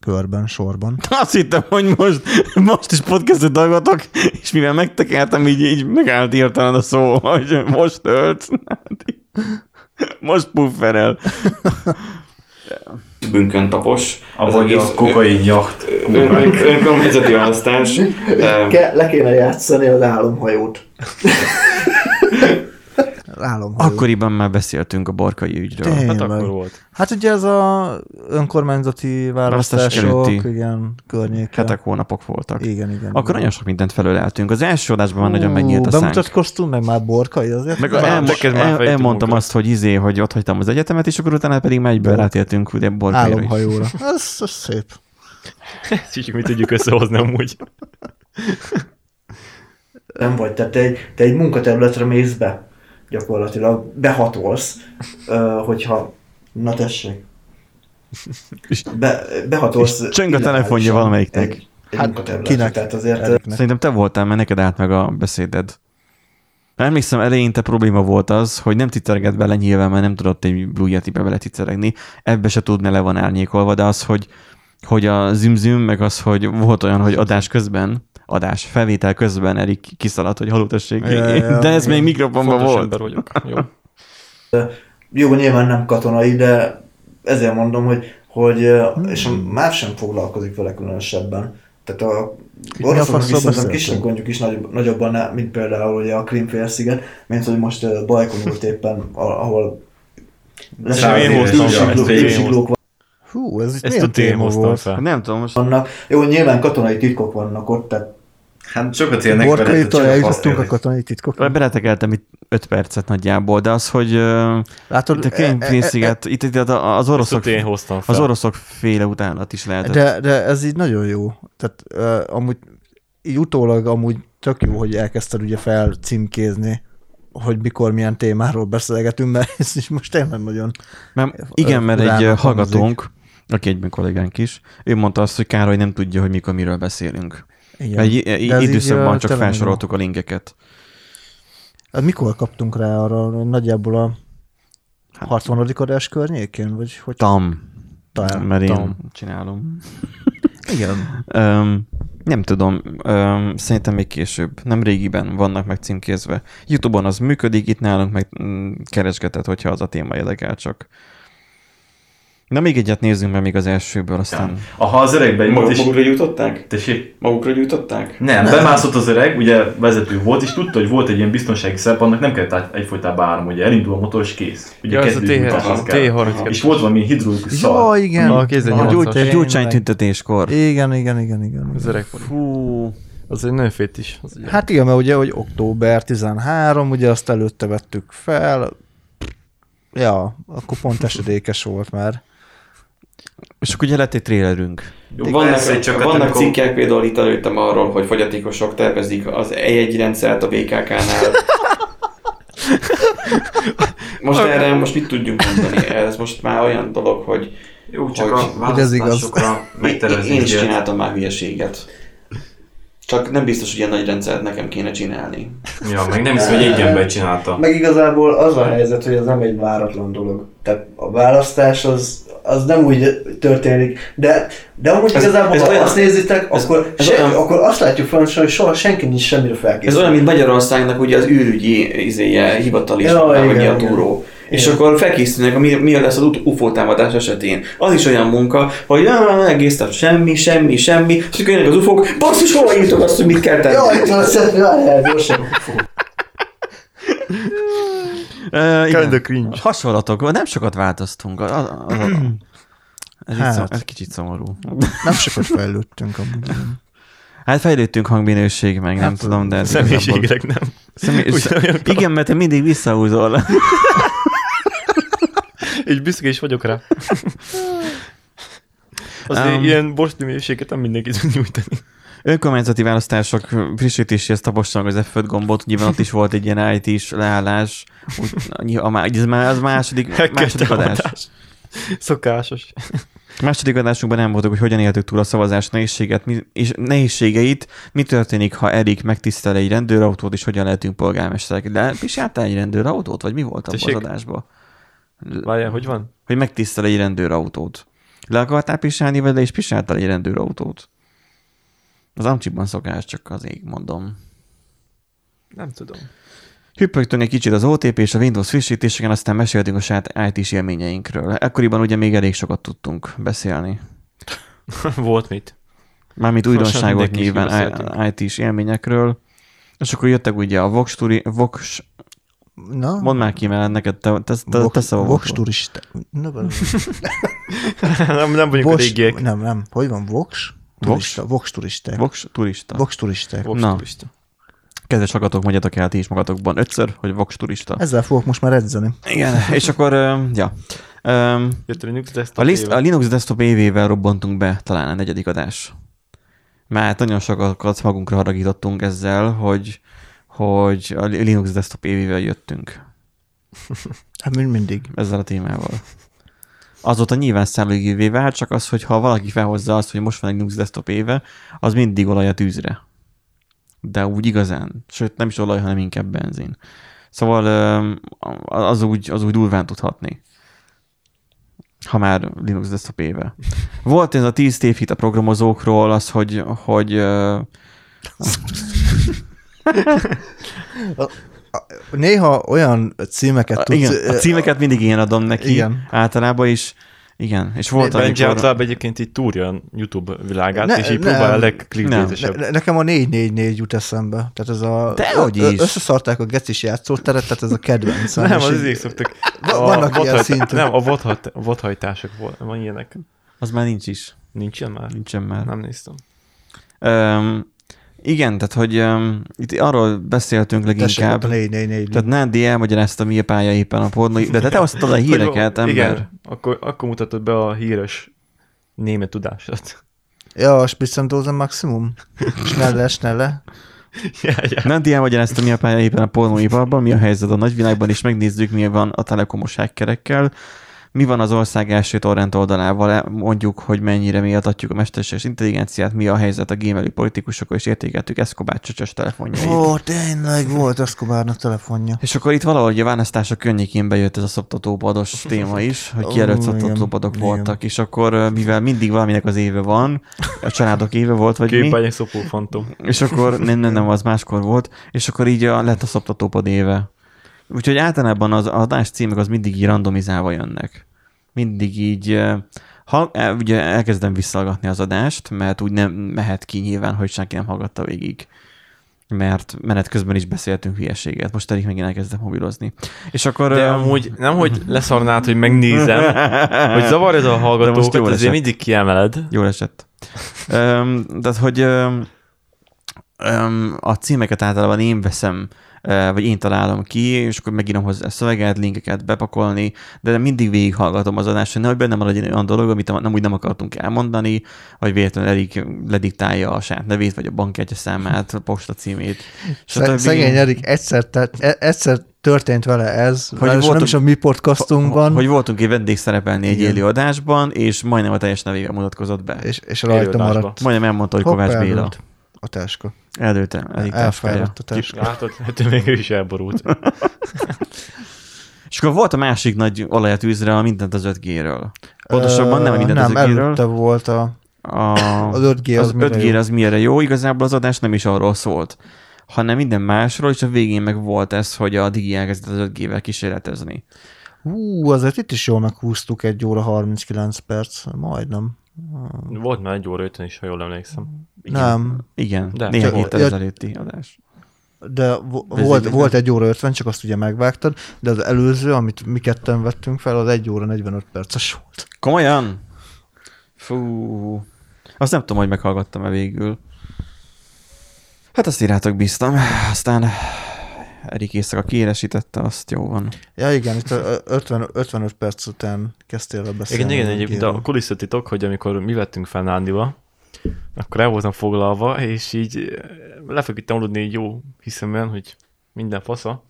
C: körben, sorban.
B: Azt hittem, hogy most, most is podcastot dolgotok, és mivel megtekertem, így, így megállt írtalan a szó, hogy most ölt. Most pufferel.
E: bűnkön tapos.
H: Ahogy a kokain jacht.
D: Hát
E: önkormányzati választás. Eh, Em,
G: Ke- le kéne játszani az álomhajót.
C: Állom.
B: Akkoriban már beszéltünk a borkai ügyről.
C: Tényleg.
D: Hát akkor volt.
C: Hát ugye ez a önkormányzati
B: Választások
C: választások,
B: előtti
C: igen, környéke.
B: Hetek, hónapok voltak.
C: Igen, igen.
B: Hát Akkor nagyon sok mindent felöleltünk. Az első adásban már nagyon
C: Ú,
B: megnyílt a szánk.
C: Bemutatkoztunk, meg már borkai azért.
B: Meg
D: Már
B: elmo-
D: neked már
B: el,
D: fejtünk
B: elmondtam
D: magunkat.
B: azt, hogy izé, hogy ott hagytam az egyetemet, és akkor utána pedig már egyből
C: Bor-
B: rátértünk ugye borkaira is.
C: Álomhajóra. Ez, ez szép.
D: Ezt is mi tudjuk összehozni amúgy.
G: Nem vagy, tehát te egy, te egy munkaterületre mész be, gyakorlatilag behatolsz, ö, hogyha, na tessék,
B: És-
G: be, behatolsz.
B: és csöng a
G: illegálisan
B: telefonja valamelyiknek.
G: Egy, egy
C: Hát
G: hát
C: kinek?
G: kinek? Tehát azért ö,
C: Eriknek.
B: Szerintem te voltál, mert neked állt meg a beszéded. Emlékszem, eleinte probléma volt az, hogy nem titerget bele nyilván, mert nem tudott egy blue yetibe bele titeregni. Ebbe se tudna le van árnyékolva, de az, hogy, hogy a zümzüm, meg az, hogy volt olyan, hogy adás közben, adás felvétel közben Erik kiszaladt, hogy halótassék.
C: Ja, ja,
B: De ez
C: igen.
B: még mikrofonban
D: Fontos
B: volt.
D: ember vagyok. Jó.
G: jó, nyilván nem katonai, de ezért mondom, hogy, hogy ö,
C: Hmm.
G: és más sem foglalkozik vele különösebben. Tehát a
C: mi a faszról
G: oroszoknak viszont a
C: beszéltünk?
G: kisebb gondjuk is nagyobb, nagyobban, áll, mint például ugye a Krímfélsziget, mint hogy most ö, Bajkon volt éppen, a- ahol
H: Száz
D: én
G: leső-
D: hoztam fel,
G: űrsiklók-
D: ezt én
G: űrsiklók
C: Hú, ez itt
D: Ezt
C: milyen
D: tudod, én
C: téma
D: hoztam
C: volt.
D: fel.
B: Nem tudom, most
G: vannak. Jó, nyilván katonai titkok vannak ott, tehát
H: Hát sokat élnek vele,
C: Borkaitól
H: csak
C: eljutottunk a
H: használni.
C: katonai titkok.
B: Beletekeltem itt 5 percet nagyjából, de az, hogy ö,
C: Látod,
B: itt a Krim
C: e- e-
B: félsziget, itt, itt a- az oroszok,
D: Ezt én hoztam fel.
B: az oroszok féle utánat is lehetett.
C: De, de ez így nagyon jó. Tehát uh, amúgy így utólag amúgy tök jó, hogy elkezdted ugye felcímkézni, hogy mikor milyen témáról beszélgetünk, mert ez is most tényleg nagyon...
B: Mert, igen, mert egy
C: rának
B: ö, hallgatónk, aki egyben kollégánk is, ő mondta azt, hogy Károly nem tudja, hogy mikor miről beszélünk.
C: Igen.
B: Igen. Egy, egy
C: De ez így,
B: időszakban
C: ö,
B: csak
C: tényleg
B: felsoroltuk a linkeket.
C: Hát Mikor kaptunk rá arra? Nagyjából a
B: Hát-
C: 60. adás környékén? Vagy hogy
B: Tam.
C: talán?
B: Mert én
C: Tam.
B: csinálom.
C: Igen.
B: Öm, nem tudom, öm, szerintem még később. Nem régiben vannak meg címkézve. Youtube-on az működik, itt nálunk meg mm, keresgetett, hogyha az a téma érdekel csak. Na még egyet nézzünk meg még az elsőből, aztán...
H: Aha, az öregbe jut,
E: Maguk-
H: és...
E: Magukra gyújtották?
H: Tessék,
E: Magukra gyújtották?
H: Nem, bemászott az öreg, ugye vezető volt, és tudta, hogy volt egy ilyen biztonsági szerep, annak nem kellett át- egyfolytában áram, ugye elindul a motor, és kész. Ugye
F: Ja, ez a
H: kezdődik, mint az kell. És
F: T-32.
H: volt valami hidrolikus szar.
C: Jaj, Ah, igen.
F: A kézen
C: A gyógyt-
F: nyolcas.
C: gyógycsány tűnt.
B: tüntetéskor.
C: Igen, igen, igen, igen.
F: Az
C: igen.
F: öreg poli.
B: Fú,
F: Az egy nőfét is. Az egy
C: Hát igen, mert ugye, hogy október 13, ugye azt előtte vettük fel. Ja, akkor pont esedékes volt már.
B: és akkor ugye lett egy trélerünk.
H: Jó,
E: vannak,
H: persze, csak hát
E: vannak
H: amikor-
E: cikkek, például itt előttem arról, hogy fogyatékosok tervezik az E1 rendszert a BKK-nál. Most erre most mit tudjunk mondani? Ez most már olyan dolog, hogy
H: Jó, csak
E: Hogy-
H: a
C: hogy ez igaz.
H: választásokra
E: én
H: megtervezni
E: is
H: kell.
E: csináltam már hülyeséget. Csak nem biztos, hogy ilyen nagy rendszert nekem kéne csinálni.
H: Ja, meg nem hiszem, hogy egy ember csinálta.
G: Meg igazából az a helyzet, hogy ez nem egy váratlan dolog. Tehát a választás az, az nem úgy történik, de, de amúgy
E: Ez-
G: igazából,
E: ez
G: ha
E: olyan-
G: azt nézitek,
E: ez-
G: akkor,
E: ez
G: se,
E: olyan-
G: akkor azt látjuk fontosan, hogy soha senki nincs semmire
E: Ez
G: felkészülve.
E: olyan, mint Magyarországnak ugye az űrügyi izé, izéje, hivatali is,
G: Ja,
E: ja,
G: igen,
E: ugye a
G: igen.
E: túró. És
G: Igen.
E: akkor felkészülnek, hogy mi, mi lesz az ut- UFO támadás esetén. Az is olyan munka, hogy "Á, egész nap semmi, semmi, semmi, és akkor jönnek az ufók, basszus, hova jutok azt, hogy mit kell tenni?
G: Jaj, tudod, szép, jaj, jaj, gyorsan.
B: Uh,
D: Kinda cringe.
B: Hasonlatok, nem sokat változtunk. A, a, a, a, ez,
C: Hát.
B: hát. szom, ez kicsit szomorú.
C: Nem sokat fejlődtünk amúgy. igen.
B: Hát fejlődtünk hangminőség, meg nem
C: Hát,
B: tudom, de... ez igazából-
D: Személyiségileg nem.
B: Személy...
D: Ugyanolyan kap-
B: Igen, mert te mindig visszahúzol.
D: Így büszke is vagyok rá. Azért
B: Um,
D: ilyen borsti mélységet nem mindenki tud nyújtani.
B: Önkormányzati választások frissítéséhez tapossam az F5 gombot, nyilván ott is volt egy ilyen IT-s leállás. Úgy, annyi- a, má- ez már az második, második adás.
D: Szokásos.
B: Második adásunkban nem voltak, hogy hogyan éltük túl a szavazás nehézséget, mi, és nehézségeit, mi történik, ha Erik megtisztel egy rendőrautót, és hogyan lehetünk polgármesterek. De is jártál egy rendőrautót, vagy mi volt abban az
D: Tessék?
B: adásban?
D: Várjál, hogy van?
B: Hogy megtisztel egy rendőrautót. Le akartál pisálni vele, és pisáltál egy rendőrautót. Az amcsiban szokás, csak az ég mondom.
F: Nem tudom.
B: Hüppögtünk egy kicsit az OTP és a Windows frissítéseken, aztán meséltünk a saját IT-s élményeinkről. Ekkoriban ugye még elég sokat tudtunk beszélni.
D: Volt mit.
B: Mármint
D: Lassan
B: újdonságot
D: mindenki is
B: nyilván IT-s élményekről. És akkor jöttek ugye a Vox, turi, Vox
C: Na,
B: mondd már ki, mert neked te, te, te, te
C: Vox-
B: szava
C: Vox
B: volt.
C: turista. Na, valami.
D: nem, nem vagyunk a
C: Vox,
D: régiek.
C: nem, nem. Hogy van? Vox? Turista. Vox turisták.
B: Vox turista.
C: Vox turisták.
D: Vox
B: Na.
D: turista.
B: Kedves hallgatók, mondjatok el ti is magatokban ötször, hogy Vox turista.
C: Ezzel fogok most már edzeni.
B: Igen, és akkor, ö, ja. Ö,
D: Jött a Linux
B: A,
D: desktop
B: list,
D: éve.
B: a Linux Desktop évével robbantunk be talán a negyedik adás. Már nagyon sokat magunkra haragítottunk ezzel, hogy, hogy a Linux Desktop évével jöttünk
C: Hát mint mindig.
B: ezzel a témával. Azóta nyilván szemlőgévé vált, csak az, hogy ha valaki felhozza azt, hogy most van egy Linux Desktop éve, az mindig olaj a tűzre. De úgy igazán. Sőt, nem is olaj, hanem inkább benzin. Szóval öm, az úgy, az úgy durván tudhatni. Ha már Linux Desktop éve. Volt ez a 10 tévhit a programozókról, az, hogy, hogy ö,
C: Néha olyan címeket tudsz...
B: igen, a címeket mindig én adom neki
C: Igen.
B: igen. általában is. Igen, és volt
D: Benji
B: amikor-
D: általában egyébként így túrja a YouTube világát,
C: Ne-
D: és így
C: nem.
D: próbál a
C: Ne,
D: legklikbétesebb.
C: ne, nekem a 444 jut eszembe. Tehát ez a...
B: Dehogy
C: ö- ö-
B: is.
C: Összeszarták a gecis játszóteret, tehát ez a kedvencem.
D: Nem,
C: És
D: az
C: így-
D: izék szoktak.
C: Va-
D: A
C: vannak ilyen
D: vadhajt-
C: szintek.
D: Nem, a vadhajt, a vadhajtások volt, van ilyenek.
B: Az már nincs is.
D: Nincs ilyen már?
B: Nincsen már.
F: Nem néztem.
B: Öm, Igen, tehát hogy um, itt arról beszéltünk
C: Tessék,
B: leginkább.
C: ott a négy, négy, négy.
B: Tehát Nádi elmagyarázta, mi a pálya éppen a pornó, de te te osztod a híreket, ember.
D: Igen, akkor, akkor mutatod be a híres német tudását.
C: Ja, a Spitzendózen maximum. Snelle, snelle.
D: ja, ja.
B: Nádi elmagyarázta, mi a pálya éppen a pornóiparban, mi a helyzet a nagyvilágban, és megnézzük, mi van a telekomos hackerekkel, mi van az ország első torrent oldalával, e, mondjuk, hogy mennyire méltatjuk a mesterséges intelligenciát, mi a helyzet a gémelő politikusokkal, és értékeltük Eszkobát csöcsös telefonjait.
C: Ó, oh, tényleg volt Escobarnak telefonja.
B: És akkor itt valahogy a választások környékén bejött ez a szoptatóbados téma is, hogy kijelölt
C: Ó, igen.
B: szoptatóbadok
C: Igen.
B: voltak, és akkor ö, mivel mindig valaminek az éve van, a családok éve volt, vagy mi,
D: Képány egy szopó fantom.
B: és akkor nem, nem, nem, az máskor volt, és akkor így a, lett a szoptatópad éve. Úgyhogy általában az adás címek az mindig így randomizálva jönnek. Mindig így, ö, ha, e, ugye elkezdem visszallgatni az adást, mert úgy nem mehet ki nyilván, hogy senki nem hallgatta végig mert menet közben is beszéltünk hülyeséget. Most pedig megint elkezdem mobilozni. És akkor...
D: De
B: ö,
D: amúgy nem, hogy leszarnád, hogy megnézem, hogy
B: De most
D: zavarjad a
B: jól
D: hallgatókat,
B: esett.
D: azért mindig kiemeled.
B: Jól esett. Öm, tehát, hogy öm, öm, a címeket általában én veszem, ö, vagy én találom ki, és akkor megírom hozzá szöveget, linkeket bepakolni, de mindig végighallgatom az adást, hogy nehogy benne maradjon olyan dolog, amit nem úgy nem akartunk elmondani, vagy véletlenül elik, lediktálja a saját nevét, vagy a bankkártya számát, a posta címét.
C: Sze-
B: stb.
C: Szegény Erik, egyszer, tehát, e- egyszer történt vele ez, hogy volt, nem
B: voltunk-
C: is a mi podcastunkban,
B: Hogy voltunk egy vendégszerepelni egy élő adásban, és majdnem a teljes nevével mutatkozott be.
C: és, és rajta
D: Élőadásba.
C: maradt
B: Majdnem elmondta, hogy Kovács
C: Hopp,
B: Béla.
C: eldőlt. a táska.
B: Eldőlt el. elég táskája.
C: Elfáradt a táska.
D: Látod, hát ő még ő is elborult.
B: És akkor volt a másik nagy olajatűzre a mindent az 5G-ről. Pontosabban nem a
C: Ö,
B: mindent az
C: Nem,
B: 5G-ről.
C: előtte volt a,
B: A,
C: az 5G, az,
B: az 5G az mire jó, igazából az adás nem is arról szólt, hanem minden másról, és a végén meg volt ez, hogy a Digi elkezdett az 5G-vel kísérletezni.
C: Hú, azért itt is jól meghúztuk egy óra 39 perc, majdnem.
D: Volt már egy óra ötön is, ha jól ememlékszem.
B: Igen.
C: Nem.
B: Igen,
D: De.
B: néhány
C: Csak-
B: héttel
C: ja-
B: ezelőtti adás.
C: De vo-
B: Ez
C: volt,
B: így-
C: volt egy óra 50, csak azt ugye megvágtad, de az előző, amit mi ketten vettünk fel, az egy óra 45 perces volt.
B: Komolyan? Fú. Azt nem tudom, hogy meghallgattam-e végül. Hát azt írjátok bíztam. Aztán Erik éjszaka kiéresítette, azt jó van.
C: Ja igen, itt ö- ö- 50, 55 perc után kezdtél el beszélni.
D: Igen, igen,
C: az
D: egyébként
C: ügyéről.
D: a kulisszatitok, hogy amikor mi vettünk fel Nándiba, akkor el voltam foglalva, és így eh, lefeküdtem aludni így jó hiszemben, hogy minden fasza.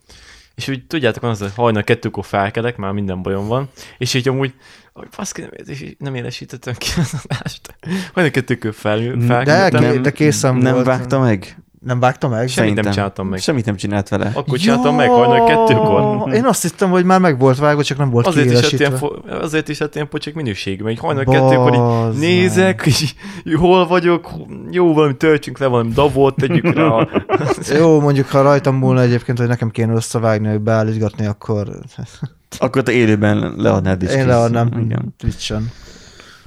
D: És úgy tudjátok, van az, hogy hajnal kettőkor felkelek, már minden bajom van, és így amúgy, hogy faszki, nem, és így nem élesítettem ki az adást. Hajnal kettőkor fel,
C: De,
D: felkeltem,
C: de készen
B: Nem
C: volt.
B: vágta meg?
C: Nem vágta meg?
D: Semmit nem
B: Szerintem.
D: csináltam meg.
B: Semmit nem csinált vele.
D: akkor csináltam meg hajnal kettőkor.
C: Én azt hittem, hogy már meg volt vágva, csak nem volt
D: Azért is, hát
C: kiélesítve.
D: ilyen, fo- azért is hát ilyen pocsék minőség, mert így hajnal
C: Bazd
D: kettőkor
C: meg.
D: így nézek, és így hol vagyok, jó, valami töltsünk le, valami davot, tegyük rá. a-
C: Jó, mondjuk ha rajtam múlna egyébként, hogy nekem kéne összevágni, hogy beállítgatni, akkor
B: Akkor te élőben leadnád is.
C: én
B: kész.
C: leadnám
B: Igen.
C: Twitch-en.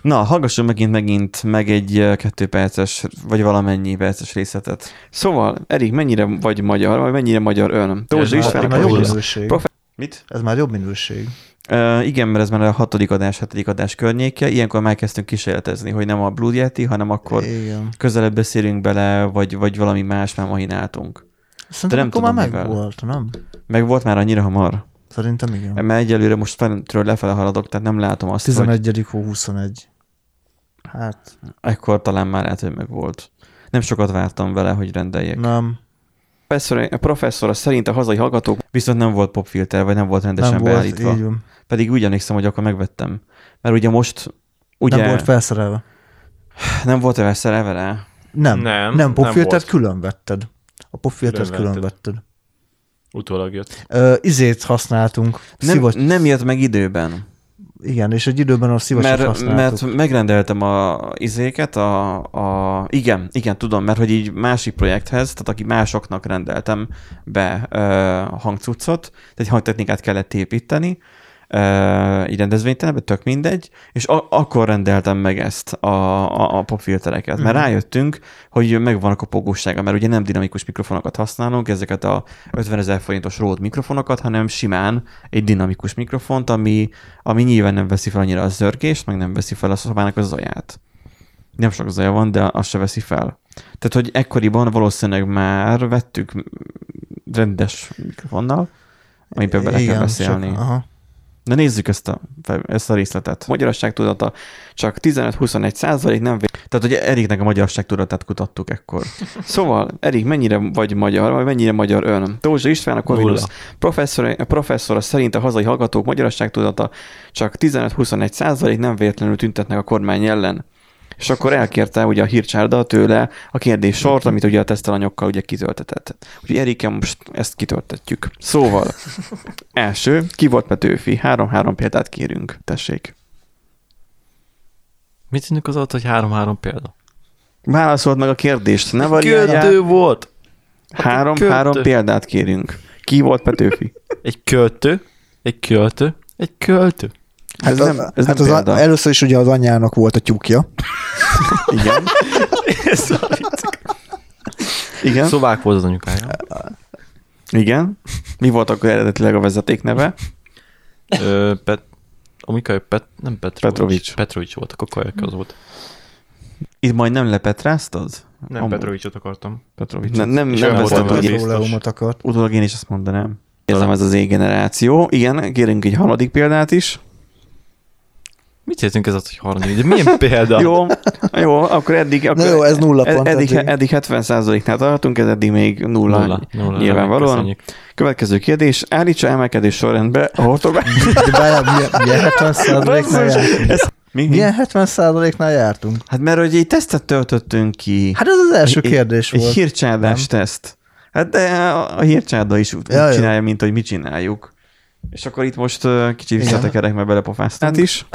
B: Na, hallgassunk megint, megint meg egy eh, kettő perces, vagy valamennyi perces részletet. Szóval, Erik, mennyire vagy magyar, vagy mennyire magyar ön? Tózsa
C: Ez
B: István,
C: már jobb
B: Tózsa.
C: minőség.
B: Prof- Mit?
C: Ez már jobb minőség.
B: Uh, igen, mert ez már a hatodik adás, hetedik adás környéke. Ilyenkor már kezdtünk kísérletezni, hogy nem a Blue Yeti, hanem akkor
C: Igen.
B: közelebb beszélünk bele, vagy, vagy valami más már mahináltunk.
C: Szerintem
B: nem
C: akkor már
B: tudom, mivel.
C: megvolt, nem?
B: Meg volt már annyira hamar.
C: Szerintem igen.
B: Mert egyelőre most fentről lefele haladok, tehát nem látom azt, szóval, hogy
C: 11. hó 21. Hát,
B: Ekkor talán már lehet, hogy meg volt. Nem sokat vártam vele, hogy rendeljék. Na.
C: nem.
B: Professzor, a professzora szerint a hazai hallgatók viszont nem volt popfilter, vagy nem volt rendesen
C: nem
B: nem
C: volt,
B: beállítva. Volt,
C: így van.
B: Pedig úgy emlékszem, hogy akkor megvettem. Mert ugye most ugye
C: Nem volt felszerelve.
B: nem volt vele szerelve rá.
C: Nem,
D: Nem,
C: nem, nem
D: nem
C: popfiltert
D: volt.
C: külön vetted. A popfiltert
D: Külön
C: külön vetted.
D: Utólag jött.
C: Ö, izét használtunk,
B: Nem,
C: szivacs,
B: nem jött meg időben.
C: igen, és egy időben a szivacsot
B: Mert,
C: használtuk.
B: mert megrendeltem a izéket, a, a, igen, igen, tudom, mert hogy így másik projekthez, tehát aki másoknak rendeltem be ö, hangcuccot, tehát egy hangtechnikát kellett építeni, ö, így rendezvénytelenben, tök mindegy, és a, akkor rendeltem meg ezt a, a, a popfiltereket, mert rájöttünk, hogy megvan a kopogósága, mert ugye nem dinamikus mikrofonokat használunk, ezeket a 50 ezer forintos Rode mikrofonokat, hanem simán egy dinamikus mikrofont, ami, ami nyilván nem veszi fel annyira a zörgést, meg nem veszi fel a szobának a zaját. Nem sok zaja van, de azt se veszi fel. Tehát, hogy ekkoriban valószínűleg már vettük rendes mikrofonnal, amiben bele kell beszélni.
C: Csak, aha.
B: Na nézzük ezt a, fel- ezt a részletet. Magyarasság tudata csak 15-21 százalék nem vé... Tehát, hogy Eriknek a magyarasság tudatát kutattuk ekkor. Szóval, Erik, mennyire vagy magyar, vagy mennyire magyar ön? Tózsa István, a Corvinus professzor, professzora szerint a hazai hallgatók magyarasság tudata csak 15-21 százalék nem véletlenül tüntetnek a kormány ellen. És akkor elkérte ugye a hírcsárda tőle a kérdés sort, amit ugye a tesztelanyagokkal ugye kitöltetett. Úgyhogy Erike most ezt kitöltetjük. Szóval, Első, ki volt Petőfi? Három-három példát kérünk, tessék.
D: Mit tűnik az alatt, hogy három-három példa?
B: Válaszold meg a kérdést, ne variáljál.
D: Költő volt!
B: Három-három
D: költő.
B: példát kérünk. Ki volt Petőfi?
D: Egy költő, egy költő, egy költő.
B: Hát ez
C: az-
B: nem, ez
C: hát
B: nem
C: az a-
B: példa.
C: Először is ugye az anyjának volt a tyúkja.
B: Igen. Igen.
D: Szlovák volt az anyukája.
B: Igen. Mi volt akkor eredetileg a vezeték neve?
D: Ö, Pet... Amikai Pet... Nem Petrovics.
B: Petrovics.
D: Petrovics volt, akkor Kajak az volt.
B: Itt majd nem lepetráztad?
D: Nem
B: Amúgy.
D: Petrovicsot akartam.
B: Petrovics. Ne, nem,
D: És
B: nem
D: olyan
B: volt
D: volt,
B: utólag,
D: hogy-
C: Petroleumot akart.
B: utólag én is ezt mondanám. Érzem ez az égeneráció. Igen, kérünk egy harmadik példát is.
D: Mit jelentünk ez az, hogy harmadik? De milyen példa?
B: Jó, jó, akkor eddig... Akkor
C: Na jó, ez nulla
B: Ed-
C: pont.
B: eddig,
C: eddig.
B: eddig 70%-nál tartunk, ez eddig még nulla.
D: Nulla. Nulla.
B: Nyilvánvalóan.
D: Köszönjük.
B: Következő kérdés, állítsa emelkedés sorrendbe a ortográf.
C: De bár- milyen- Milyen 70 százaléknál jártunk?
B: Mi?
C: Milyen 70 százaléknál jártunk?
B: Hát mert hogy egy tesztet töltöttünk ki.
C: Hát ez az első
B: Egy-
C: kérdés
B: egy
C: volt.
B: hírcsárdás teszt. Hát de a a hírcsárda is úgy
C: Ja,
B: ja,
C: jó.
B: csinálja, mint hogy mi csináljuk. És akkor itt most ö, kicsit
C: Igen.
B: visszatekerek, mert belepofáztunk. Hát is.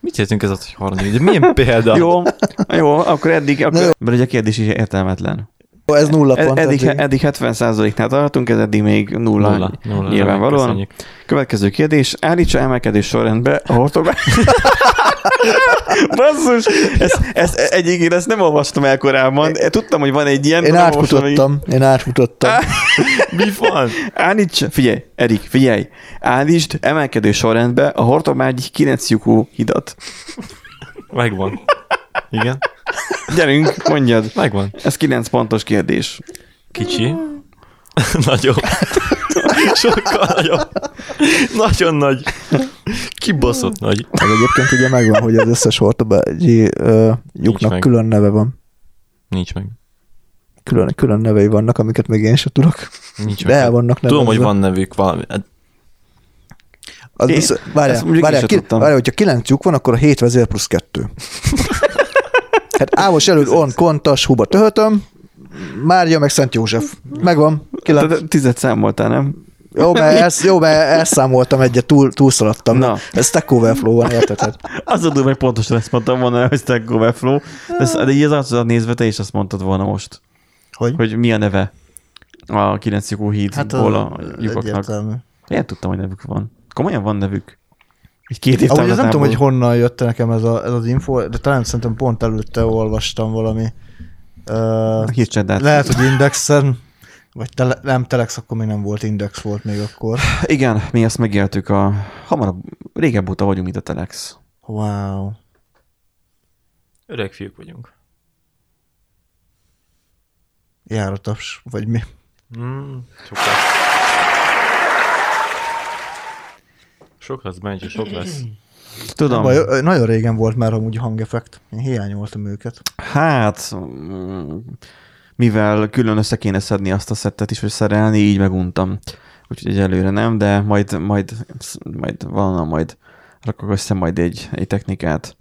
D: Mit jelentünk ez az, hogy harmadik? De milyen példa?
B: Jó, jó, akkor eddig, akkor,
C: jó.
B: mert ugye a kérdés is értelmetlen.
C: Jó, Ez nulla
B: Ed-
C: pont.
B: E- eddig,
C: eddig.
B: eddig 70%-nál tartunk, ez eddig még nulla.
D: Nulla. Nulla.
B: Nyilvánvalóan.
D: Köszönjük.
B: Következő kérdés. Állítsa emelkedés sorrendbe a ortográf. Basszus! Ezt, ezt egyik én ezt nem olvastam el korábban. Tudtam, hogy van egy ilyen.
C: Én
B: de nem olvastam még.
C: átfutottam, én átfutottam.
D: Mi van?
B: Állíts, figyelj, Erik, figyelj. Állítsd emelkedő sorrendbe a Hortobágyi 9 lyukú hidat.
D: Megvan. Igen?
B: Gyerünk, mondjad.
D: Megvan.
B: Ez 9 pontos kérdés.
D: Kicsi. Nagyobb. Sokkal nagyobb. Nagyon nagy. Kibaszott nagy.
C: Ez egyébként ugye megvan, hogy az összes hortobágyi ö, lyuknak
D: meg.
C: külön neve van.
D: Nincs meg.
C: Külön, külön nevei vannak, amiket még én sem tudok.
D: Nincs
C: De
D: meg.
C: el vannak nevezve.
D: Tudom, hogy van nevük valami. Hát
C: Az
B: Én-
C: biztos, várjál,
B: ezt mondjuk én
C: várjál,
B: se
C: ki,
B: tudtam.
C: várjál, hogyha kilenc lyuk van, akkor a hét vezér plusz kettő. hát Ámos előtt on, kontas, huba töhötöm, Márja meg Szent József. Megvan, kilenc.
B: Tehát tized számoltál, nem?
C: Jó, mert, elsz, jó, mert elszámoltam egyet, túl, túlszaladtam.
B: Na.
C: Na. Ez Stack Overflow van, érted? Hát
B: Az a durva, hogy pontosan ezt mondtam volna, hogy Stack Overflow. De, ez- de így az arcodat nézve te is azt mondtad volna most.
C: Hogy? hát
B: Hogy mi a neve a 9 lyukú hídból a lyukaknak.
C: egyértelmű.
B: Én tudtam, hogy nevük van. Komolyan van nevük. Egy két év
C: Amúgy ez nem tudom, hogy
B: távlatából.
C: honnan jött nekem ez, a, ez az info, de talán szerintem pont előtte olvastam valami. Uh,
B: A hírcseddát.
C: lehet, hogy indexen, vagy tele, nem telex, akkor még nem volt index volt még akkor.
B: Igen, mi ezt megéltük a hamarabb, régebb óta vagyunk, mint a Telex.
C: Wow.
D: öreg fiúk vagyunk.
C: Járatos, vagy mi?
D: Mm, sok lesz. Sok lesz, Benji, sok lesz.
B: Tudom,
C: Baj, ö, nagyon régen volt már amúgy hangeffekt. Én hiányoltam őket.
B: hát mm, mivel külön össze kéne szedni azt a szettet is, hogy szerelni, így meguntam. Úgyhogy egyelőre nem, de majd, majd, majd valahol majd rakok össze majd egy, egy technikát.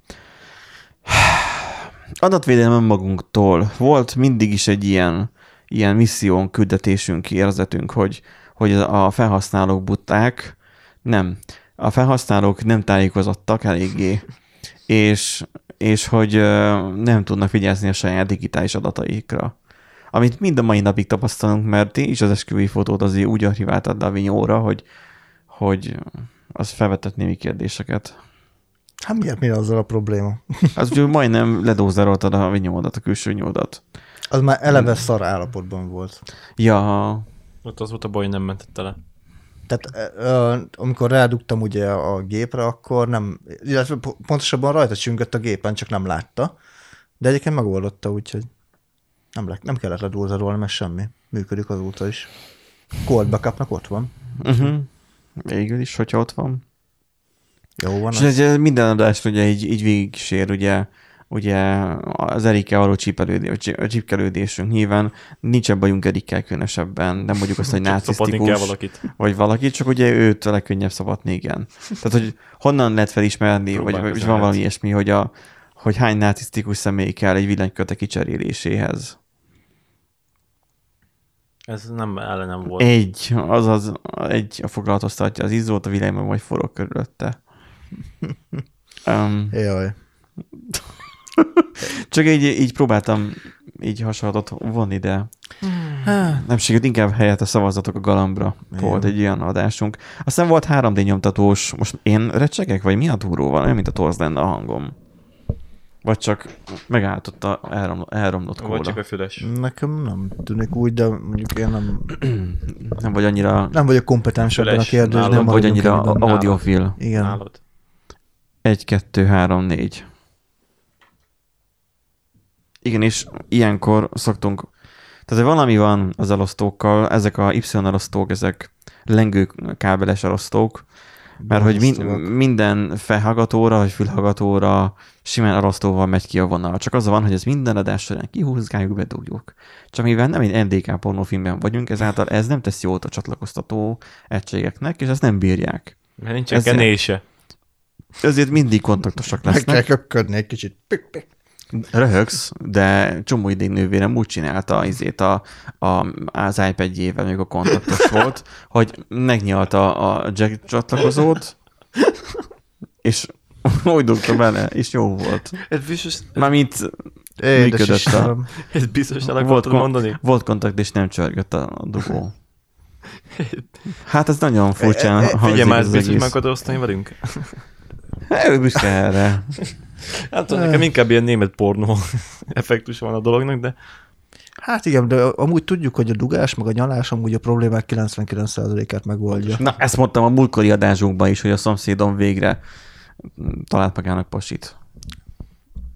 B: Adatvédelem önmagunktól. Volt mindig is egy ilyen, ilyen misszión, küldetésünk, érzetünk, hogy, hogy a felhasználók buták, nem, a felhasználók nem tájékozottak eléggé, és, és hogy ö, nem tudnak vigyázni a saját digitális adataikra. Amit mind a mai napig tapasztalunk, mert ti is az esküvői fotót azért úgy archiváltad Davignóra, hogy, hogy az felvetett némi kérdéseket.
C: Hát miért mi azzal a probléma?
B: Az úgy majdnem ledózeroltad a vinyódat, a külső nyódat.
C: Az már eleve szar állapotban volt.
B: Ja,
D: Ott az volt a baj, hogy nem mentette le.
C: Tehát ö, ö, amikor rádugtam ugye a gépre, akkor nem, illetve po- pontosabban rajta csüngött a gépen, csak nem látta. De egyébként megoldotta, úgyhogy nem, le, nem kellett ledúzadolni, mert semmi. Működik azóta is. Cold backupnak ott van.
B: Uh-huh. Végül is, hogyha ott van.
C: Jó van.
B: És
C: az.
B: ez ez minden adást ugye így, így végig sér, ugye, ugye az Erikkel való csípelődés, vagy csí- csípkelődésünk nyilván nincs a bajunk Erikkel különösebben, nem mondjuk azt, hogy
D: Szopatni kell
B: nácisztikus,
D: valakit.
B: vagy valaki, csak ugye őt a legkönnyebb szabadni, igen. Tehát, hogy honnan lehet felismerni, vagy,
D: Próbálkozom,
B: vagy van valami
D: hát.
B: ilyesmi, hogy, a, hogy hány nácisztikus személy kell egy villanyköte kicseréléséhez.
D: Ez nem ellenem volt.
B: Egy, azaz egy a foglalkoztatja az izzót, a villanyban majd forog körülötte. um,
C: Jaj.
B: Csak így, így próbáltam így hasonlatot vonni, de nem sikerült, inkább helyett a szavazatok a galambra volt egy ilyen adásunk. Aztán volt 3D nyomtatós, most én recsegek, vagy mi a duró van? Olyan, mint a torz lenne a hangom. Vagy csak megáltott a elrom, elromlott kóla.
D: Vagy csak a füles.
C: Nekem nem tűnik úgy, de mondjuk én nem,
B: Nem vagy annyira,
C: nem vagyok kompetens ebben a
D: Füles,
C: kérdésben.
D: nálam
B: nem vagy
C: maradjunk
B: annyira
C: ennyiben.
B: audiofil.
C: Igen.
D: Nálad.
B: 1, 2, 3, 4. Igen, és ilyenkor szoktunk, tehát ha valami van az elosztókkal, ezek a Y elosztók, ezek lengő kábeles elosztók, mert hogy min-
C: Elosztóak.
B: minden felhallgatóra, vagy fülhallgatóra simán elosztóval megy ki a vonal. Csak az van, hogy ez minden adás során kihúzgáljuk, bedugjuk. Csak mivel nem egy NDK pornófilmben vagyunk, ezáltal ez nem tesz jót a csatlakoztató egységeknek, és ezt nem bírják.
D: Mert nincs
B: Ezzel-
D: kenése.
B: Ezért mindig kontaktosak
C: Meg kell
B: lesznek.
C: köpködni egy kicsit. Pik, pik.
B: Röhögsz, de csomó ideig nővérem úgy csinálta izét a, a, az iPad-jével, amikor kontaktos volt, hogy megnyalta a jack csatlakozót, és úgy dugta bele, és jó volt.
D: Ez biztos,
B: Mármint
C: Édes
B: Működött a-
C: Istenem.
D: ez biztos el
B: volt,
D: akartad mondani.
B: volt kontakt, és nem csörgött a a dugó. Hát ez nagyon
C: E- e-
B: furcsán
D: Ugye
B: hangzik
D: már
B: ez az
D: biztos meg
B: egész.
D: akarod osztani velünk?
B: Hát, Ő büszke erre.
D: Hát tudom, nekem inkább ilyen német pornó effektus van a dolognak, de
C: Hát igen, de amúgy tudjuk, hogy a dugás meg a nyalás amúgy a problémák 99%-át megoldja.
B: Na, ezt mondtam a múltkori adásunkban is, hogy a szomszédom végre talált magának pasit.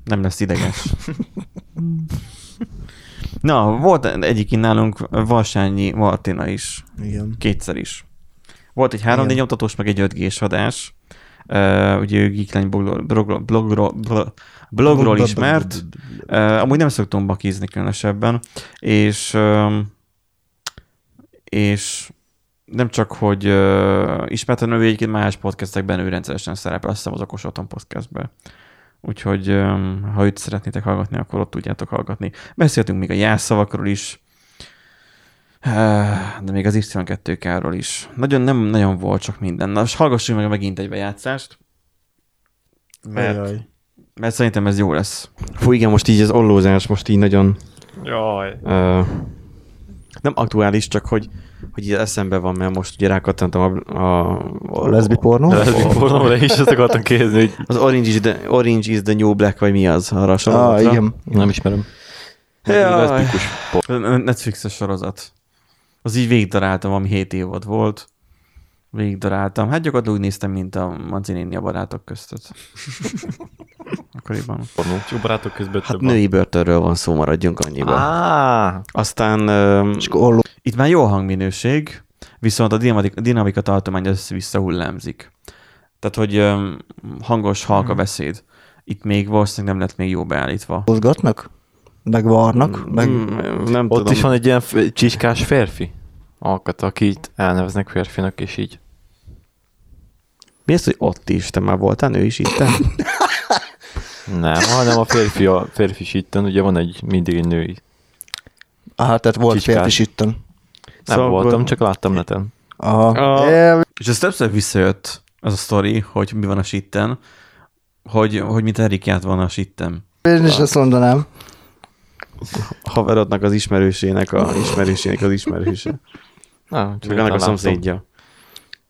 B: Nem lesz ideges. Na, volt egyik nálunk Valsányi Martina is,
C: Igen.
B: kétszer is. Volt egy 3D
C: Igen.
B: nyomtatós, meg egy 5G-s adás. Uh, ugye ő Geekline blogról, blogról, blogról, blogról, blogról ismert. Uh, amúgy nem szoktunk bakizni különösebben, és um, és nem csak, hogy uh, ismerten ő egyébként más podcastekben ő rendszeresen szerepel, azt hiszem az Okos Otthon podcastben. Úgyhogy um, ha őt szeretnétek hallgatni, akkor ott tudjátok hallgatni. Beszéltünk még a jelszavakról is, eh, de még az Y2K-ról is. Nagyon nem nagyon volt csak minden. Na, most hallgassunk meg megint egy bejátszást, mert,
C: Ajaj.
B: mert szerintem ez jó lesz.
I: Fú, igen, most így az ollózás most így nagyon
D: jaj.
I: ö, nem aktuális, csak hogy, hogy így eszembe van, mert most ugye rákattantam a, a,
C: A leszbi pornó?
D: De ez pornóra is ezt akartam kérdezni, hogy
I: az Orange is, the, Orange is the New Black, vagy mi az arra a
C: Ah,
I: sorozatra.
C: igen.
I: Nem ismerem.
B: Jaj.
I: Leszbikus por-
B: Netflixes sorozat. Az így végigdaráltam, ami 7 évad volt. Végigdaráltam. Hát gyakorlatilag úgy néztem, mint a Mancinini a barátok között. Akkoriban.
D: jó barátok közben
I: Hát
D: több van.
I: női börtönről van szó, maradjunk annyiba.
D: Á,
I: Aztán ö,
C: És akkor olló.
B: Itt már jó a hangminőség, viszont a dinamika, dinamika tartomány az vissza hullámzik. Tehát, hogy öm, hangos, halka
I: Mhm.
B: beszéd. Itt még valószínűleg nem lett még jó beállítva. Hmm,
C: Mozgatnak? Meg varnak? Meg...
B: mm.
I: m- nem
D: ott
I: tudom.
D: is van egy ilyen f- csiskás férfi alkat, aki itt elneveznek férfinak, és így.
I: Mi az, hogy ott is? Te már voltál nő is itt?
D: Nem, hanem a férfi, a férfi sitten, ugye van egy mindig egy női.
C: Ah, tehát volt
D: Csicskás.
C: férfi sitten.
D: Nem
I: Szóval
D: szóval voltam,
I: akkor-
D: csak láttam neten.
C: Aha.
I: A-
C: É,
B: És ez többször visszajött az a sztori, hogy mi van a sitten, hogy, hogy mint Erikját van a sitten.
C: Én is ezt mondanám.
I: Haverodnak az ismerősének, a ismerősének az ismerőse.
D: Nem, csak
I: Csak annak a
D: láttam.
I: szomszédja.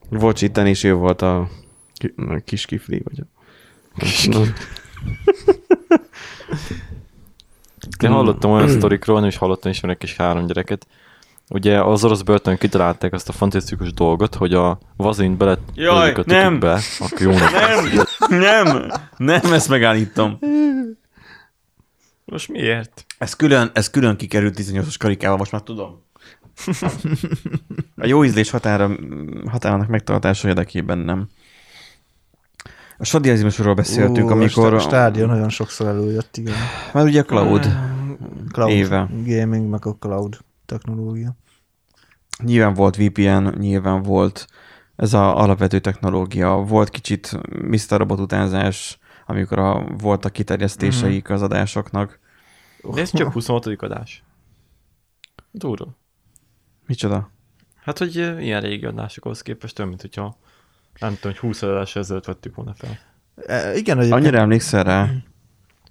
I: Volt itten, és ő volt a ki- a kis kifli, vagy a...
D: Én hallottam olyan sztorikról, nem is hallottam ismerek is három gyereket. Ugye az orosz börtön kitalálták azt a fantasztikus dolgot, hogy a vazint bele
B: Jaj,
D: ölik a tükükbe,
B: nem!
D: akkor jónak.
B: Nem, nem, ezt megállítom.
D: Most miért?
B: Ez külön, ez külön kikerült 18-os karikával, most már tudom. A jó ízlés határa, határának megtartása érdekében nem. A sadiazmusról beszéltünk,
C: Ú,
B: amikor...
C: A stá- stádion nagyon sokszor előjött, igen.
B: Már ugye a
I: Hm,
B: cloud.
C: Cloud
B: Éve.
C: gaming, meg a cloud technológia.
B: Nyilván volt VPN, nyilván volt ez a alapvető technológia. Volt kicsit Mr. Robot utánzás, amikor a, voltak
C: Mhm.
B: kiterjesztéseik az adásoknak.
D: De ez csak 26. adás. Durva.
B: Micsoda?
D: Hát, hogy eh, ilyen régi adásokhoz képest, olyan, mint hogyha nem tudom, hogy 20 adás ezelőtt vettük volna fel.
C: E, igen, egyébként
B: Annyira emlékszel rá?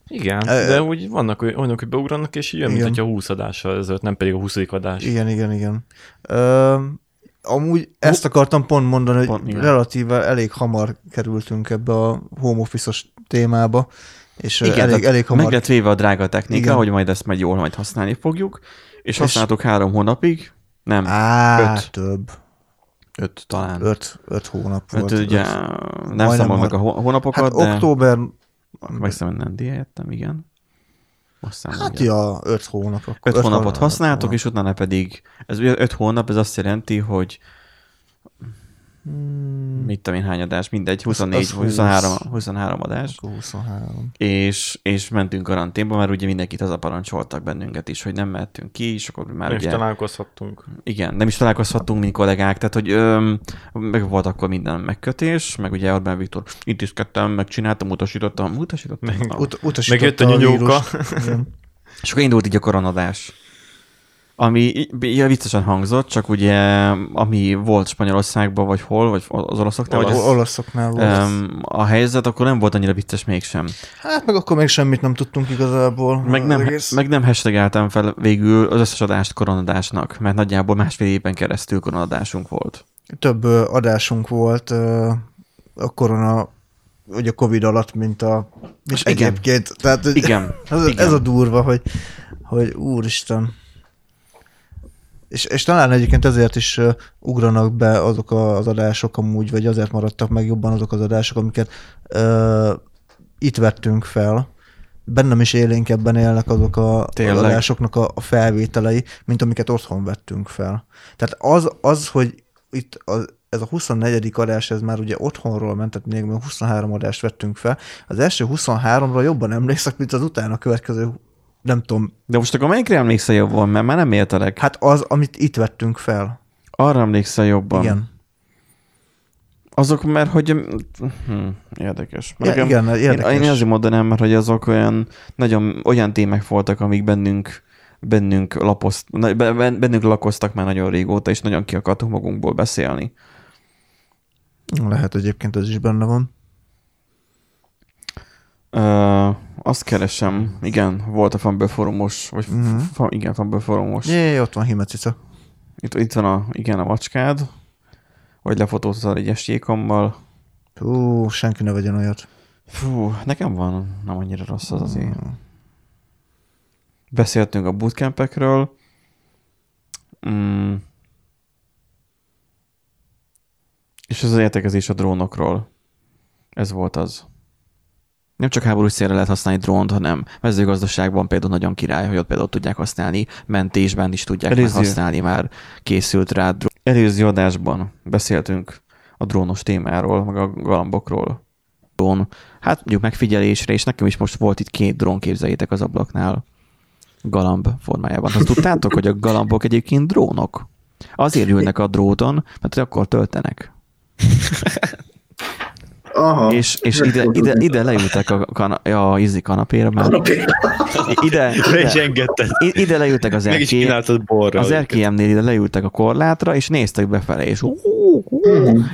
D: Igen,
C: Eh,
D: de úgy vannak oly- olyanok, hogy beugranak, és így olyan, mint
C: igen.
D: hogyha 20 adással ezelőtt, nem pedig a 20. adás.
C: Igen, igen, igen. Ö, amúgy ezt akartam pont mondani, hogy
B: Pont, igen.
C: relatíve elég hamar kerültünk ebbe a home office-os témába, és igen,
B: Igen,
C: elég,
B: tehát
C: elég
B: Meg
C: hamar.
B: lett véve a drága technika,
C: Igen.
B: Igen. hogy majd ezt majd jól majd használni fogjuk, és használtuk három hónapig, nem,
C: Á,
B: öt.
C: több.
B: öt talán. Öt,
C: Öt, öt hónap
B: öt
C: volt.
B: ugye
C: öt.
B: nem
C: Majdnem
B: számol
C: hat.
B: meg a hó- hónapokat,
C: Hát
B: hát de októ...
C: október,
B: megszámol nem diájattam, igen. Most számolom,
C: hát
B: igen.
C: ja, öt hónap. Akkor,
B: öt, hónapot
C: hónap-
B: használtok, és utána pedig, ez ugye öt hónap, ez azt jelenti, hogy mit tudom én hány adás, mindegy, 24,
C: az
B: vagy
C: 20.
B: 23, 23 adás,
C: Akkor 23.
B: és, és mentünk karanténba, mert ugye mindenkit az a parancsoltak bennünket is, hogy nem mehetünk ki, és akkor már
D: Nem is
B: ugye...
D: találkozhattunk.
B: igen, nem is találkozhattunk, mint kollégák, tehát hogy öm, meg volt akkor minden megkötés, meg ugye Orbán Viktor intézkedtem, megcsináltam, utasítottam, utasítottam.
C: Ut- utasította
D: Megjött a nyúnyóka.
C: vírust. Igen.
B: És akkor indult így a koronadás. Ami így- ja, viccesen hangzott, csak ugye, ami volt Spanyolországban, vagy hol, vagy az olaszoknál,
C: Ol-
B: vagy az,
C: Olaszoknál volt.
B: öm, a helyzet, akkor nem volt annyira vicces mégsem.
C: Hát meg akkor még semmit nem tudtunk igazából.
B: Meg
C: az
B: nem, hát
C: egész.
B: meg nem hashtageltem fel végül az összes adást koronadásnak, mert nagyjából másfél éven keresztül koronadásunk volt.
C: több ö, adásunk volt ö, a korona, vagy a Covid alatt, mint a mint
B: Hát Igen.
C: egyébként. Tehát, hogy
B: Igen,
C: Ez, a-
B: igen.
C: ez a durva, hogy, hogy úristen. És, és talán egyébként ezért is ö, ugranak be azok a- az adások amúgy, vagy azért maradtak meg jobban azok az adások, amiket ö, itt vettünk fel. Bennem is élénkebben élnek azok a, az
B: Tényleg?
C: adásoknak a, a felvételei, mint amiket otthon vettünk fel. Tehát az, az hogy itt az, ez a 24. adás, ez már ugye otthonról ment, tehát még még 23 adást vettünk fel. Az első 23-ra jobban emlékszek, mint az utána következő, nem tudom,
B: De most akkor melyikre emlékszel jobban, mert már nem éltelek.
C: hát az, amit itt vettünk fel.
B: Arra emlékszel jobban.
C: Igen.
B: Azok, mert hogy... Hm, érdekes.
C: Ja,
B: Nekem-
C: igen, érdekes.
B: Én, én azért mondanám, mert hogy azok olyan, nagyon olyan témák voltak, amik bennünk bennünk, lapozt, na- be- ben- bennünk lakoztak már nagyon régóta, és nagyon ki akartunk magunkból beszélni.
C: Lehet egyébként ez is benne van.
B: Ö, azt keresem, igen, volt a fanből forumos, vagy
C: Mhm.
B: mm-hmm. fa, igen, fanből forumos.
C: Jé, ott van Himecica.
B: Itt, itt van a, igen, a macskád, vagy lefotóztad egy estékommal.
C: Hú, senki ne vegyen olyat.
B: Fú, nekem van nem annyira rossz az azért. Beszéltünk a bootcampekről. Mm. És az értekezés a drónokról. Ez volt az. Nem csak háborús célra lehet használni drónt, hanem mezőgazdaságban például nagyon király, hogy ott például tudják használni, mentésben is tudják már
I: Előző-
B: használni, már készült rá drón. Előző adásban beszéltünk a drónos témáról, meg a galambokról. Drón, hát mondjuk megfigyelésre, és nekem is most volt itt két drón, képzeljétek az ablaknál galamb formájában. Azt tudtátok, hogy a galambok egyébként drónok? Azért ülnek a dróton, mert hogy akkor töltenek.
J: Aha.
B: És, és ide, ide, ide leültek a, kana, a izi kanapéra már. Ide, ide,
I: engedted.
B: i- ide leültek az
I: Meg is
B: erkély,
I: kínáltad borra.
B: az erkélyemnél ide leültek a korlátra, és néztek befele, és, ó, ó, ó,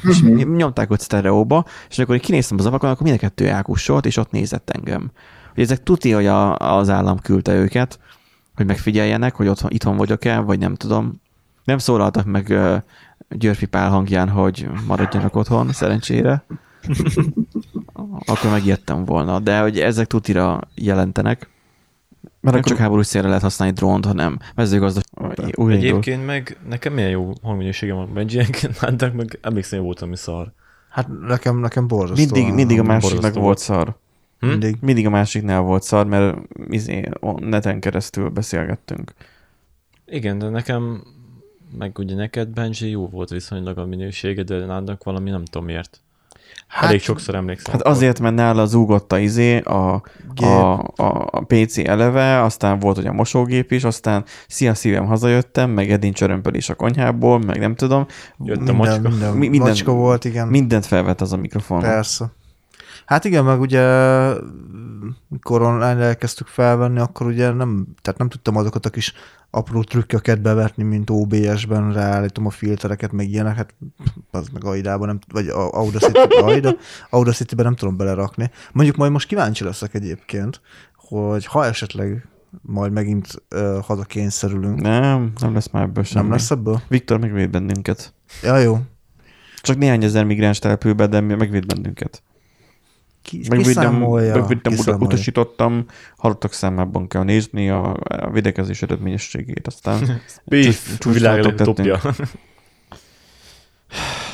B: és nyomták ott sztereóba, és akkor így kinéztem az ablakon, akkor mind a kettő elkussolt, és ott nézett engem. Hogy ezek tuti, hogy a, az állam küldte őket, hogy megfigyeljenek, hogy otthon, itthon vagyok-e, vagy nem tudom. Nem szólaltak meg ö, Györfi Pál hangján, hogy maradjanak otthon, szerencsére. akkor megijedtem volna. De hogy ezek tutira jelentenek. Mert akkor csak háborús célra lehet használni drónt, hanem mezőgazdaság. Újra indul.
D: Egyébként meg nekem milyen jó hangminőségem van Benjinek, látták meg, emlékszem, hogy voltam, ami szar.
C: Hát nekem, nekem borzasztó.
B: Mindig, mindig a másiknak
D: borzasztó
B: volt szar.
C: mindig.
B: Mindig a másiknál volt szar, mert izé, o- neten keresztül beszélgettünk.
F: Igen, de nekem, meg ugye neked, Benji, jó volt viszonylag a minősége, de nálnak valami nem tudom miért. Hát, Elég sokszor emlékszem.
B: Hát azért, mert nála zúgott a izé, a, a, a, a PC eleve, aztán volt ugye a mosógép is, aztán szia szívem, hazajöttem, meg edin csörömpölés a konyhából, meg nem tudom.
F: Jött a
C: Minden,
F: macska.
C: minden,
B: Mi-
C: mi,
B: minden-
C: minden, macska volt, igen.
B: Mindent felvett az a mikrofon.
C: Persze. Hát igen, meg ugye mikor online elkezdtük felvenni, akkor ugye nem, tehát nem tudtam azokat a kis apró trükköket bevetni, mint OBS-ben ráállítom a filtereket, meg ilyenek, hát az meg Aidában nem, vagy a- Audacity, Aida, Audacity-ben nem tudom belerakni. Mondjuk majd most kíváncsi leszek egyébként, hogy ha esetleg majd megint uh, haza kényszerülünk,
B: Nem, nem lesz már ebből semmi.
C: nem lesz ebből?
B: Viktor megvéd bennünket.
C: Ja, jó.
B: Csak néhány ezer migráns települbe, de mi- megvéd bennünket.
C: Ki,
B: Megvédem,
C: kiszámolja.
B: megvédem uta,
C: kiszámolja.
B: utasítottam, halottak számában kell nézni a, a védekezés eredményességét, aztán
D: Béf,
B: csúcs-
D: világ
B: csúcstartok
D: topja.
F: Hát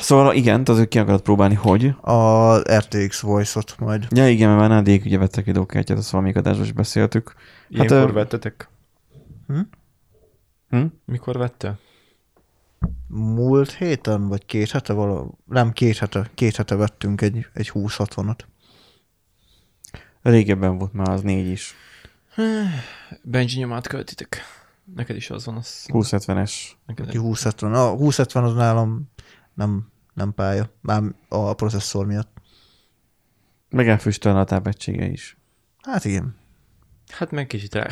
B: Szóval igen, az ő ki akarod próbálni, hogy?
C: A RTX Voice-ot majd.
B: Ja igen, mert már nádék ugye vettek videókártyát, azt valamelyik adásban is beszéltük.
D: Ilyenkor
B: ö,
D: hát, vettetek?
C: Hm?
B: Hm?
D: Mikor vette?
C: múlt héten, vagy két hete valahol, nem két hete, két hete vettünk egy, egy 20-60-at.
B: Régebben volt már az négy is.
F: Benji nyomát költitek. Neked is az van, az
B: 2070-es.
F: neked
C: Ki 20-70. A 20-70 az nálam nem, nem pálya, már a processzor miatt.
B: Meg elfüstöl a tápegysége is.
C: Hát igen.
F: Hát meg kicsit rá.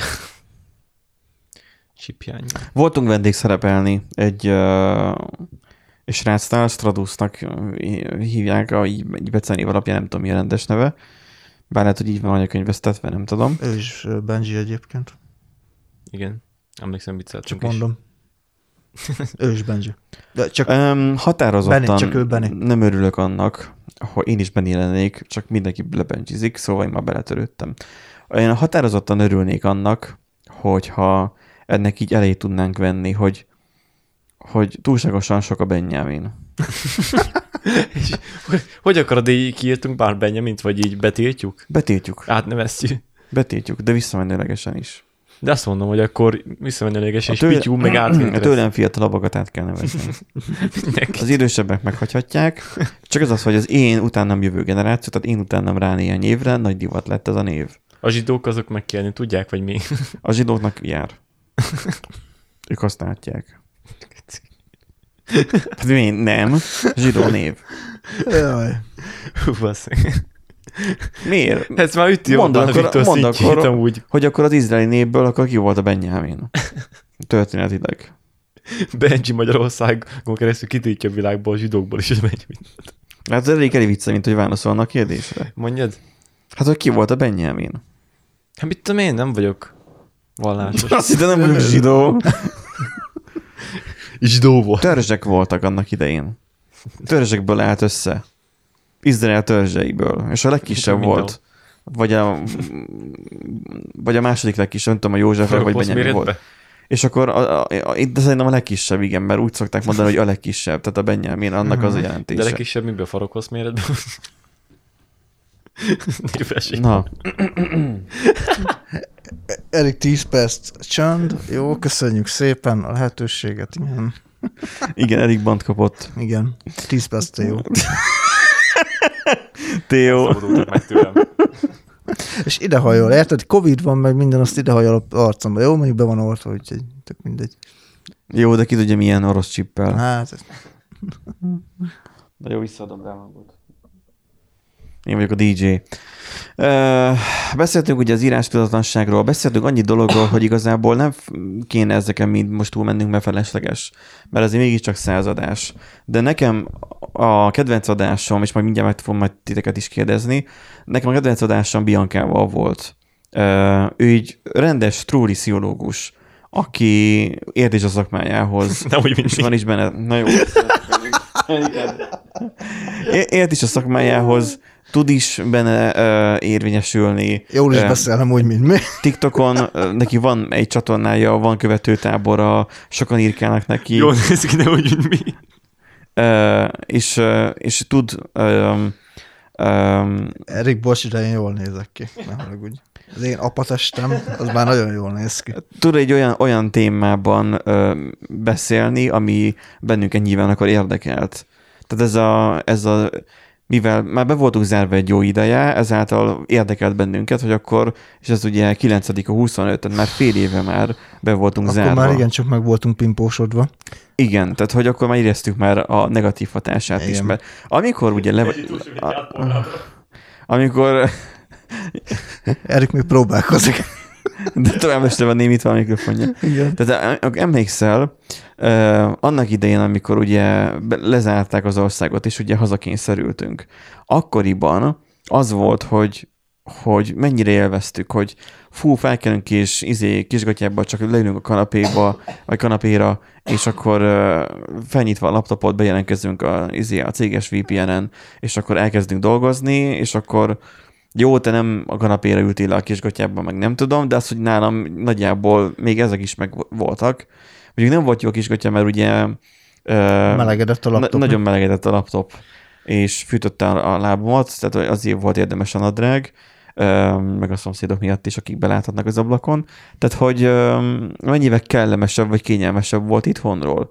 F: Csipjány.
B: Voltunk vendégszerepelni egy uh, és srácnál, Stradusnak ö, hívják, a, így, egy becenév alapján, nem tudom mi a rendes neve. Bár lehet, hogy így van anyakönyvesztetve, nem tudom.
C: Ő is ö, Benji egyébként.
F: Igen. Emlékszem, vicceltünk
C: Csak
F: is.
C: mondom. ő is Benji. De csak
B: Um, határozottan
C: Benny, csak ő Benny.
B: nem örülök annak, hogy én is Benny lennék, csak mindenki lebencsizik, szóval én már beletörődtem. Én határozottan örülnék annak, hogyha ennek így elejét tudnánk venni, hogy, hogy túlságosan sok a Benjamin.
D: Hogy akarod, így kiírtunk bár Benjamint, vagy így betiltjuk?
B: Betiltjuk,
D: Átneveztjük.
B: betiltjuk, de visszamenőlegesen is.
D: De azt mondom, hogy akkor visszamenőlegesen és pityú, meg
B: a
D: átvételez.
B: tőlem fiatalabbakat át kell nevezni. az idősebbek meghagyhatják, csak az az, hogy az én utánam jövő generáció, tehát én utánam rá néhány évre, nagy divat lett ez a név.
D: A zsidók azok megkérni tudják, vagy mi?
B: A zsidóknak jár. Ők használják. Hát mi? Nem. Zsidó név.
C: jaj,
D: Hú, bassz.
B: Miért?
D: Ez már üti
B: Mondd
D: jobban a
B: akkor-
D: Viktor
B: mondd
D: szintjét
B: akkor-
D: amúgy.
B: Hogy akkor az izraeli névből akkor ki volt a Benjamin? Történetileg.
D: Benji Magyarországon keresztül kitiltja a világból a zsidókból is a Benjamint.
B: Hát ez elég elég vicce, mint hogy válaszolna a kérdésre.
D: Mondjad?
B: Hát, hogy ki volt a Benjamin?
D: Hát mit tudom én, nem vagyok vallásos.
B: Azt hittem, nem vagyok zsidó.
D: Zsidó volt.
B: Törzsek voltak annak idején. Törzsekből állt össze. Izrael törzseiből. És a legkisebb
D: Mindenhol.
B: volt. Vagy a, vagy a második legkisebb, nem tudom, a József vagy
D: Holocaust
B: Benjamin volt.
D: méretbe?
B: És akkor a, a, a, itt de szerintem a legkisebb, igen, mert úgy szokták mondani, hogy a legkisebb, tehát a Benjamin, annak az a
D: Mhm. De
B: jelentése.
D: legkisebb, miből farokhoz méretben? Népesség.
B: Na,
C: elég 10 perc csönd. Jó, köszönjük szépen a lehetőséget. Igen,
B: igen, Erik Band kapott.
C: igen. 10 perc, te jó.
B: Teo.
D: Szabadultak meg tőlem.
C: És idehajol, érted? Covid van, meg minden, azt idehajol a arcomba. Jó, mondjuk be van oltva, úgyhogy tök mindegy.
B: Jó, de ki tudja, milyen orosz csippel.
C: Hát, ez-
B: Na jó, visszaadom rá magot. Én vagyok a DJ. Ö, beszéltünk ugye az írás tudatlanságról, beszéltünk annyi dologról, hogy igazából nem f- kéne ezeken mind most túlmennünk, mert felesleges, mert azért mégiscsak századás. De nekem a kedvenc adásom, és majd mindjárt meg fogom majd titeket is kérdezni, nekem a kedvenc adásom Biancával volt. Ö, ő így rendes, trúli sziológus, aki ért is a szakmájához.
D: Nem úgy, mint
B: És van is benne. Na jó. É- Ért is a szakmájához, tud is benne ö, érvényesülni.
C: jól is
B: Ö,
C: beszélem úgy, mint mi.
B: TikTokon ö, neki van egy csatornája, van követőtábora, sokan írkálnak neki.
D: Jól néz ki, de úgy, mint mi.
B: Ö, és, ö, és tud ö, Um,
C: Erik, bocs, de én jól nézek ki. Ne haragudj. Az én apatestem, az már nagyon jól néz ki.
B: tud egy olyan, olyan témában ö, beszélni, ami bennünket nyilván akkor érdekelt. Tehát ez a, ez a, mivel már be voltunk zárva egy jó ideje, ezáltal érdekelt bennünket, hogy akkor, és ez ugye 9 a 25 tehát már fél éve már be voltunk
C: Akkor
B: zárva.
C: már igencsak meg voltunk pimpósodva.
B: Igen, tehát hogy akkor már éreztük már a negatív hatását Igen. is,
C: Igen.
B: mert amikor ugye le... a- Amikor...
C: Erik még próbálkozik.
B: De továbbra sem van némítva a mikrofonja.
C: Igen.
B: Tehát em- emlékszel, ö, annak idején, amikor ugye be- lezárták az országot, és ugye hazakényszerültünk, akkoriban az volt, hogy hogy mennyire élveztük, hogy fú, felkelünk és izé kisgatyába, csak leülünk a kanapéba, vagy kanapéra, és akkor ö, felnyitva a laptopot bejelentkezünk a, izé, a céges VPN-en, és akkor elkezdünk dolgozni, és akkor jó, te nem a kanapéra ültél le a kisgatyában, meg nem tudom, de az, hogy nálam nagyjából még ezek is meg voltak. Mondjuk nem volt jó a kisgatya, mert ugye ö,
C: Melegedett a laptop.
B: na- nagyon melegedett a laptop, és fűtötte a a lábomat, tehát azért volt érdemes a nadrág, öm, meg a szomszédok miatt is, akik beláthatnak az ablakon. Tehát, hogy öm, mennyivel kellemesebb vagy kényelmesebb volt itthonról.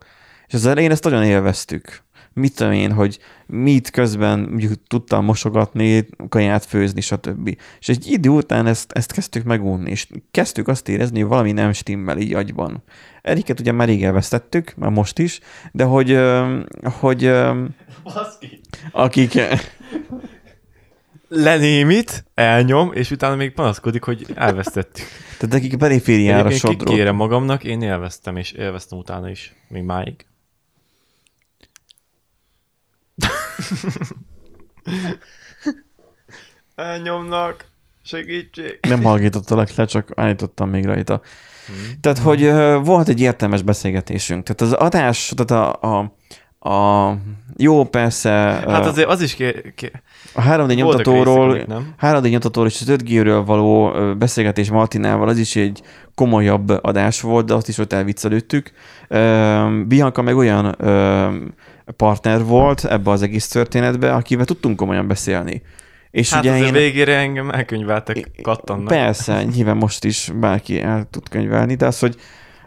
B: És az elején ezt nagyon élveztük. Mit tudom én, hogy mit közben mondjuk tudtam mosogatni, kaját főzni, stb. És egy idő után ezt, ezt kezdtük megunni, és kezdtük azt érezni, hogy valami nem stimmel így agyban. Eriket ugye már rég elvesztettük, már most is, de hogy, öm, hogy öm,
H: Baszki.
B: akik...
D: Lenémít, elnyom, és utána még panaszkodik, hogy elvesztettük.
B: Tehát akik perifériára
D: Egyébként
B: sodról.
D: kikérem magamnak, én élveztem, és élveztem utána is, még máig. Elnyomnak, segítség.
B: Nem hallgatottalak le, csak állítottam még rajta.
D: Hmm.
B: Tehát, hogy ö, volt egy értelmes beszélgetésünk. Tehát az adás, tehát a, a, a jó, persze,
D: Hát
B: ö,
D: azért az is ké... ké... hát
B: a 3D
D: voltak részek,
B: nyomtatóról,
D: amik nem?
B: 3D nyomtatóról és az 5G-ről való ö, beszélgetés Martinával, az is egy komolyabb adás volt, de azt is ott elviccelődtük. Ö, Bianca meg olyan ö, partner volt ebbe az egész történetbe, akivel tudtunk komolyan beszélni. És
D: Hát
B: ugye
D: azért
B: én...
D: végére engem elkönyveltek, kattannak.
B: Persze, nyilván most is bárki el tud könyvelni, de az, hogy,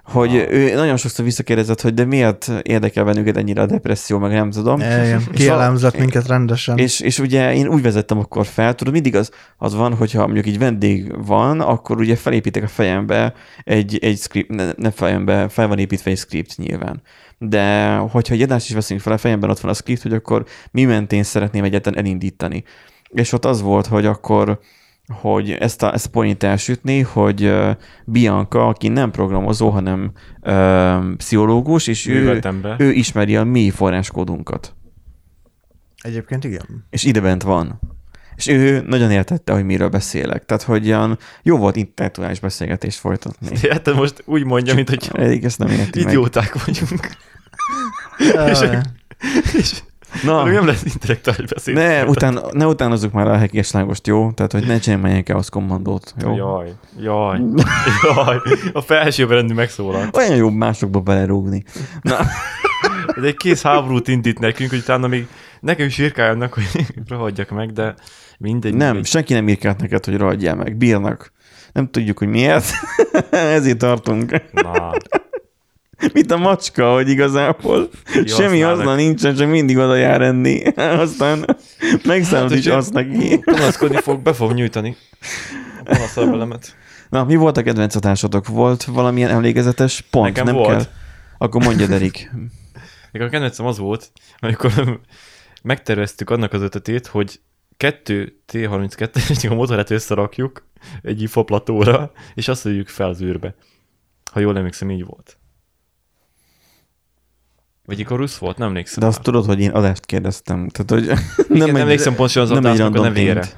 B: hogy
D: Ah.
B: ő nagyon sokszor visszakérdezett, hogy de miért érdekel bennünket ennyire a depresszió, meg nem tudom.
C: Igen,
B: És a-
C: kielámzott minket rendesen.
B: És, és ugye én úgy vezettem akkor fel, tudod, mindig az, az van, hogyha mondjuk egy vendég van, akkor ugye felépítek a fejembe egy, egy script, ne, nem fejembe, fel van építve egy script nyilván. De hogyha egy adást is veszünk fel, a fejemben ott van a script, hogy akkor mi mentén szeretném egyetlen elindítani. És ott az volt, hogy akkor hogy ezt a, ezt a point elsütni, hogy ö, Bianca, aki nem programozó, hanem ö, pszichológus, és ő,
D: Művelt ember.
B: ő ismeri a mi forráskódunkat
C: Egyébként igen.
B: és idebent van. És ő nagyon értette, hogy miről beszélek. Tehát, hogy ilyen jó volt intellektuális beszélgetést folytatni.
D: Hát te most úgy mondja, mint hogy
B: Eddig ezt nem érti meg.
D: idióták vagyunk. És
B: Na,
D: nem lesz intellektuális beszéd.
B: ne, után, ne utánozzuk már a hekés lágost, jó? Tehát, hogy ne csináljunk ilyen káosz kommandót, jó?
D: Jaj, jaj, jaj, a felsőbbrendű megszólalt.
B: Olyan jó másokba belerúgni.
D: Ez egy kész háborút indít nekünk, hogy utána még nekem is írkáljanak, hogy rohadjak meg, de mindegy.
B: Nem,
D: mindegy.
B: senki nem írkált neked, hogy ragadjál meg. Bírnak. Nem tudjuk, hogy miért. Ezért tartunk.
D: Na,
B: Mint a macska, hogy igazából semmi
D: használnak.
B: azna nincsen, csak mindig oda jár enni. Aztán megszámít
D: Hát,
B: is
D: hogy-
B: azt neki.
F: Panaszkodni fog, be fog nyújtani a panaszelemet.
B: Na, mi volt a kedvenc adásotok? Volt valamilyen emlékezetes pont?
D: Nekem
B: nem
D: volt.
B: kell. Akkor mondja, Derik.
D: még a kedvencem az volt, amikor megterveztük annak az ötletét, hogy kettő T-32-es a motorát összerakjuk egy ifaplatóra, és azt adjuk fel az űrbe. Ha jól emlékszem, így volt. Vagy Icarus volt? Nem emlékszem.
B: De
D: már.
B: azt tudod, hogy én adást kérdeztem. Tehát, hogy
D: nem
B: nem
D: Igen,
B: egy,
D: emlékszem pontosan az
B: nem egy
D: adásnak a
B: random
D: nevére.
B: tényt.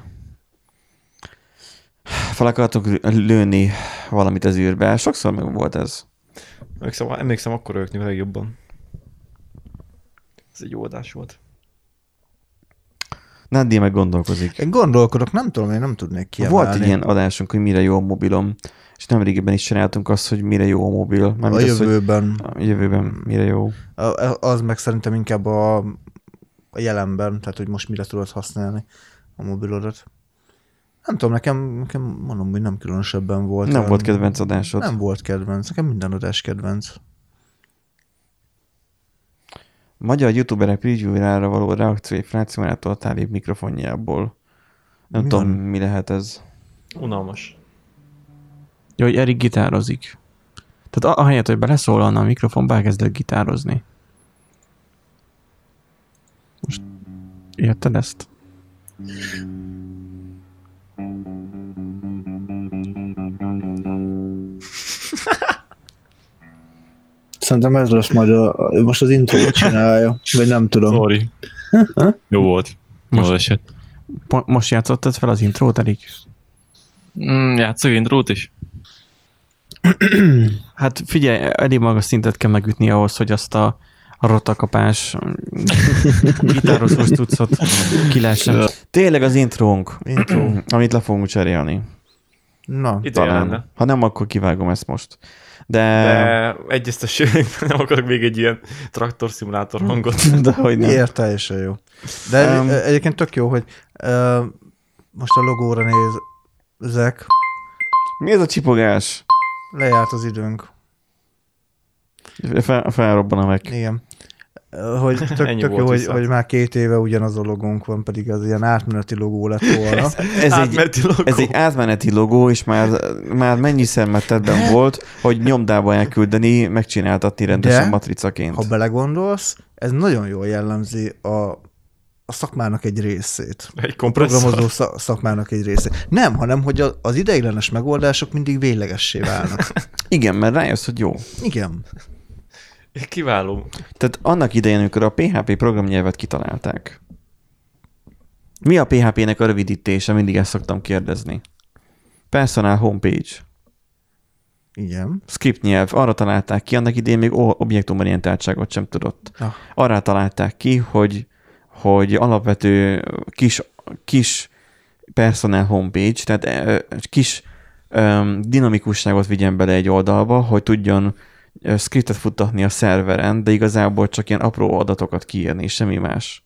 B: fel akartok lőni valamit az űrbe. Sokszor meg volt ez.
D: Emlékszem, emlékszem akkor rögni a legjobban. Ez egy jó adás volt.
B: Nandi meg gondolkozik.
C: Én gondolkodok, nem tudom, én nem tudnék kiemelni.
B: Volt egy ilyen adásunk, hogy mire jó a mobilom, és nemrégiben is csináltunk azt, hogy mire jó a mobil.
C: A
B: Mármint az, hogy
C: jövőben.
B: a jövőben mire jó.
C: A- Az meg szerintem inkább a, a jelenben, tehát hogy most mire tudod használni. a mobilodat. Nem tudom, nekem, nekem mondom, hogy nem különösebben volt.
B: Nem
C: olyan-
B: volt kedvenc adásod.
C: Nem volt kedvenc, nekem minden adás kedvenc.
B: Magyar youtuberek preview-ra való reakció frációjától tálébb mikrofonjából. Nem
C: Mi
B: tudom,
C: van?
B: mi lehet ez.
D: Unalmas.
B: Ja, hogy Erik gitározik. Tehát a- ahelyett, hogy beleszólalna a mikrofonba, elkezdett gitározni. Most érted ezt?
C: Szerintem ez lesz majd a, ő most az intrót csinálja, vagy nem tudom.
D: Sorry. Jó volt.
B: Most-
D: Most esett.
B: Po- most játszottad fel az intrót, Erik?
D: Mm, játszok intrót is.
B: Hát figyelj, elég magas szintet kell megütni ahhoz, hogy azt a rotakapás gitározós tudszot ki lehessen. Tényleg az intrónk,
C: Intro.
B: amit le fogunk cserélni.
C: Na,
D: Itt lenne.
B: Talán. Ha nem, akkor kivágom ezt most. De, de...
D: De egyeztességek, nem akarok még egy ilyen traktor szimulátor hangot.
B: de hogy nem.
C: miért teljesen jó. De um,
B: Öm.
C: egyébként tök jó, hogy uh, most a logóra nézek,
B: Mi ez a csipogás?
C: lejárt az időnk.
B: Fel, felrobban a meg.
C: Igen. Ö, Hogy tök,
D: Ennyi
C: tök jó,
D: volt
C: hogy,
D: viszont.
C: hogy, már két éve ugyanaz a logónk van, pedig az ilyen átmeneti logó lett volna.
B: Ez egy,
D: Átmeneti logó.
B: ez egy átmeneti logó, és már, már mennyi szemmetetben volt, hogy nyomdába elküldeni, megcsináltatni rendesen
C: De,
B: matricaként.
C: Ha belegondolsz, ez nagyon jól jellemzi a, a szakmának egy részét.
D: Egy
C: A
D: kompresszor.
B: Szóval-
C: programozó szak- szakmának egy részét. Nem, hanem hogy a- az ideiglenes megoldások mindig véglegessé válnak.
B: Igen, mert rájössz, hogy jó.
C: Igen.
D: Kiváló.
B: Tehát annak idején, amikor a PHP programnyelvet kitalálták, mi a PHP-nek a rövidítése? Mindig ezt szoktam kérdezni. Personal Homepage.
C: Igen.
B: Script nyelv. Arra találták ki, annak idején még o- objektumorientáltságot sem tudott.
C: Ah.
B: Arra találták ki, hogy, hogy alapvető kis, kis personal homepage, tehát ö, kis um, dinamikusságot vigyen bele egy oldalba, hogy tudjon ö, scriptet futtatni a szerveren, de igazából csak ilyen apró adatokat kiírni, és semmi más.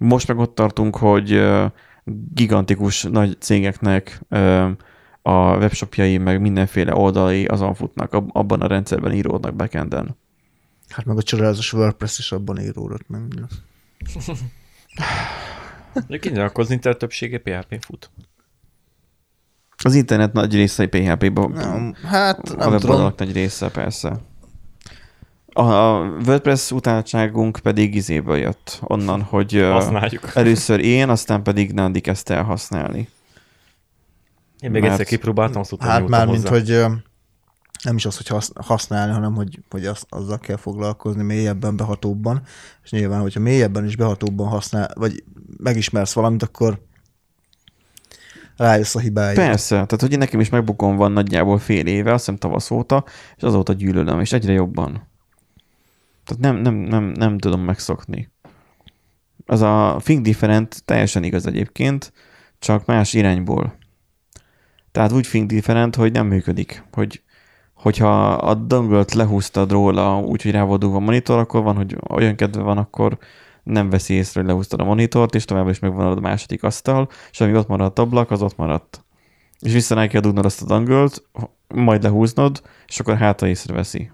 B: Most meg ott tartunk, hogy ö, gigantikus nagy cégeknek ö, a webshopjai, meg mindenféle oldalai azon futnak, ab- abban a rendszerben íródnak backenden.
C: Hát meg a csodálatos WordPress is abban íródott. meg minden.
D: Egyébként akkor az internet többsége php fut.
B: Az internet nagy része PHP-ben,
C: Nem, hát
B: a
C: nem tudom.
B: weboldalak nagy része persze. A a WordPress utáltságunk pedig izéből jött, onnan, hogy ö,
D: Használjuk.
B: először én, aztán pedig Nandi kezdte el használni.
D: Én még
B: Mert-
D: egyszer kipróbáltam, azt utána
C: Hát
D: nyúltam
C: már, mint
D: hozzá.
C: hogy ö, nem is az, hogy hasz- használni, hanem hogy, hogy az, azzal kell foglalkozni mélyebben, behatóbban. És nyilván, hogyha mélyebben és behatóbban használ, vagy megismersz valamit, akkor rájössz a hibáira.
B: Persze, tehát hogy nekem is megbukon van nagyjából fél éve, azt hiszem tavasz óta, és azóta gyűlölöm, és egyre jobban. Tehát nem, nem, nem, nem tudom megszokni. Az a Think Different teljesen igaz egyébként, csak más irányból. Tehát úgy Think Different, hogy nem működik. Hogy, hogyha a döngölt lehúztad róla, úgyhogy rá volt dugva a monitor, akkor van, hogy olyan kedve van, akkor nem veszi észre, hogy lehúztad a monitort, és továbbra is megvan a második asztal, és ami ott maradt ablak, az ott maradt és vissza neki kell dugnod azt a dangölt, majd lehúznod, és akkor hátra észreveszi.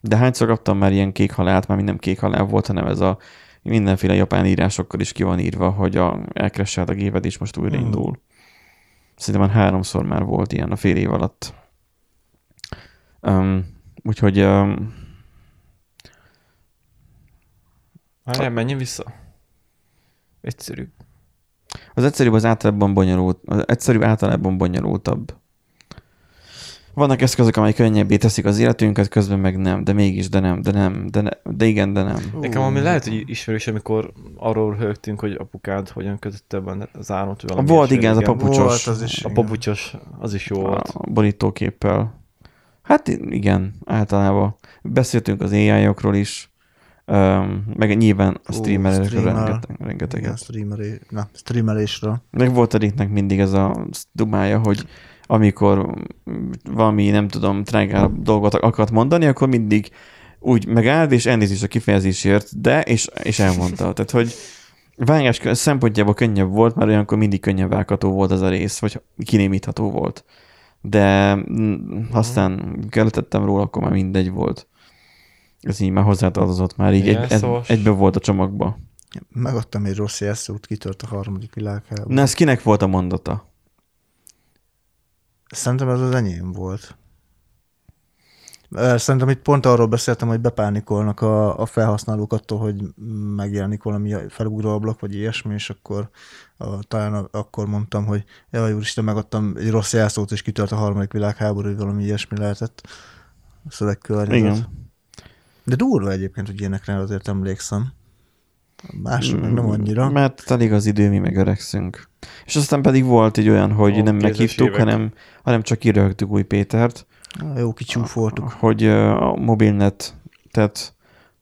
B: De hányszor kaptam már ilyen kék halált, már minden kék halál volt, hanem ez a mindenféle japán írásokkal is ki van írva, hogy a, elkresselt a géped, és most újraindul. Hmm. Szerintem már háromszor már volt ilyen a fél év alatt. Um, úgyhogy um,
F: Várjál, menjünk vissza. Egyszerű.
B: Az egyszerűbb az általában bonyolult, az egyszerűbb általában bonyolultabb. Vannak eszközök, amelyek könnyebbé teszik az életünket, közben meg nem, de mégis, de nem, de nem, de, ne, de igen, de nem.
D: Nekem ami lehet, hogy ismerős, amikor arról högtünk, hogy apukád hogyan kötötte be az áramot. valami
B: Volt,
D: ilyesmi
B: igen, ez a Ah.
D: régen.
B: papucsos.
C: Volt az is.
D: A
C: igen.
D: papucsos, az is jó volt.
B: A borítóképpel. Hát i- igen, általában. Beszéltünk az AI-okról is, öm, meg nyilván a
C: Ú,
B: streamerekről
C: streamer.
B: rengeteg, rengeteget.
C: Igen, streameré, na, streamelésről.
B: Meg volt Eriknek mindig ez a dumája, hogy amikor valami, nem tudom, trágább dolgot akart mondani, akkor mindig úgy megállt, és elnézést a kifejezésért, de, és, és elmondta. Tehát, hogy vágás kö- szempontjából könnyebb volt, mert olyankor mindig könnyebb vágható volt ez a rész, vagy kinémítható volt. De mm, aztán keletettem róla, akkor már mindegy volt. Ez így már hozzátartozott, már így egy, egy,
F: Jelszavas.
B: egybe volt a csomagba.
C: Megadtam egy rossz jelszót, kitört a harmadik világháború.
B: Na, ez kinek volt a mondata?
C: Szerintem ez az enyém volt. Ö, Szerintem itt pont arról beszéltem, hogy bepánikolnak a, a felhasználók attól, hogy megjelenik valami felugró ablak, vagy ilyesmi, és akkor a, talán a, akkor mondtam, hogy jaj, úristen, megadtam egy rossz jelszót, és kitört a harmadik világháború, vagy valami ilyesmi lehetett a szövegkörnyezet.
B: Igen.
C: De durva egyébként, hogy ilyenekre azért emlékszem. A mások meg nem annyira.
B: Mert telik az idő, mi megöregszünk. És aztán pedig volt egy olyan, hogy
F: Ó,
B: nem
F: kézes
B: meghívtuk,
F: évek.
B: hanem, hanem csak kiröhögtük új Pétert,
C: Ah, Jó, kicsúfoltuk.
B: hogy ö, a mobilnet, tehát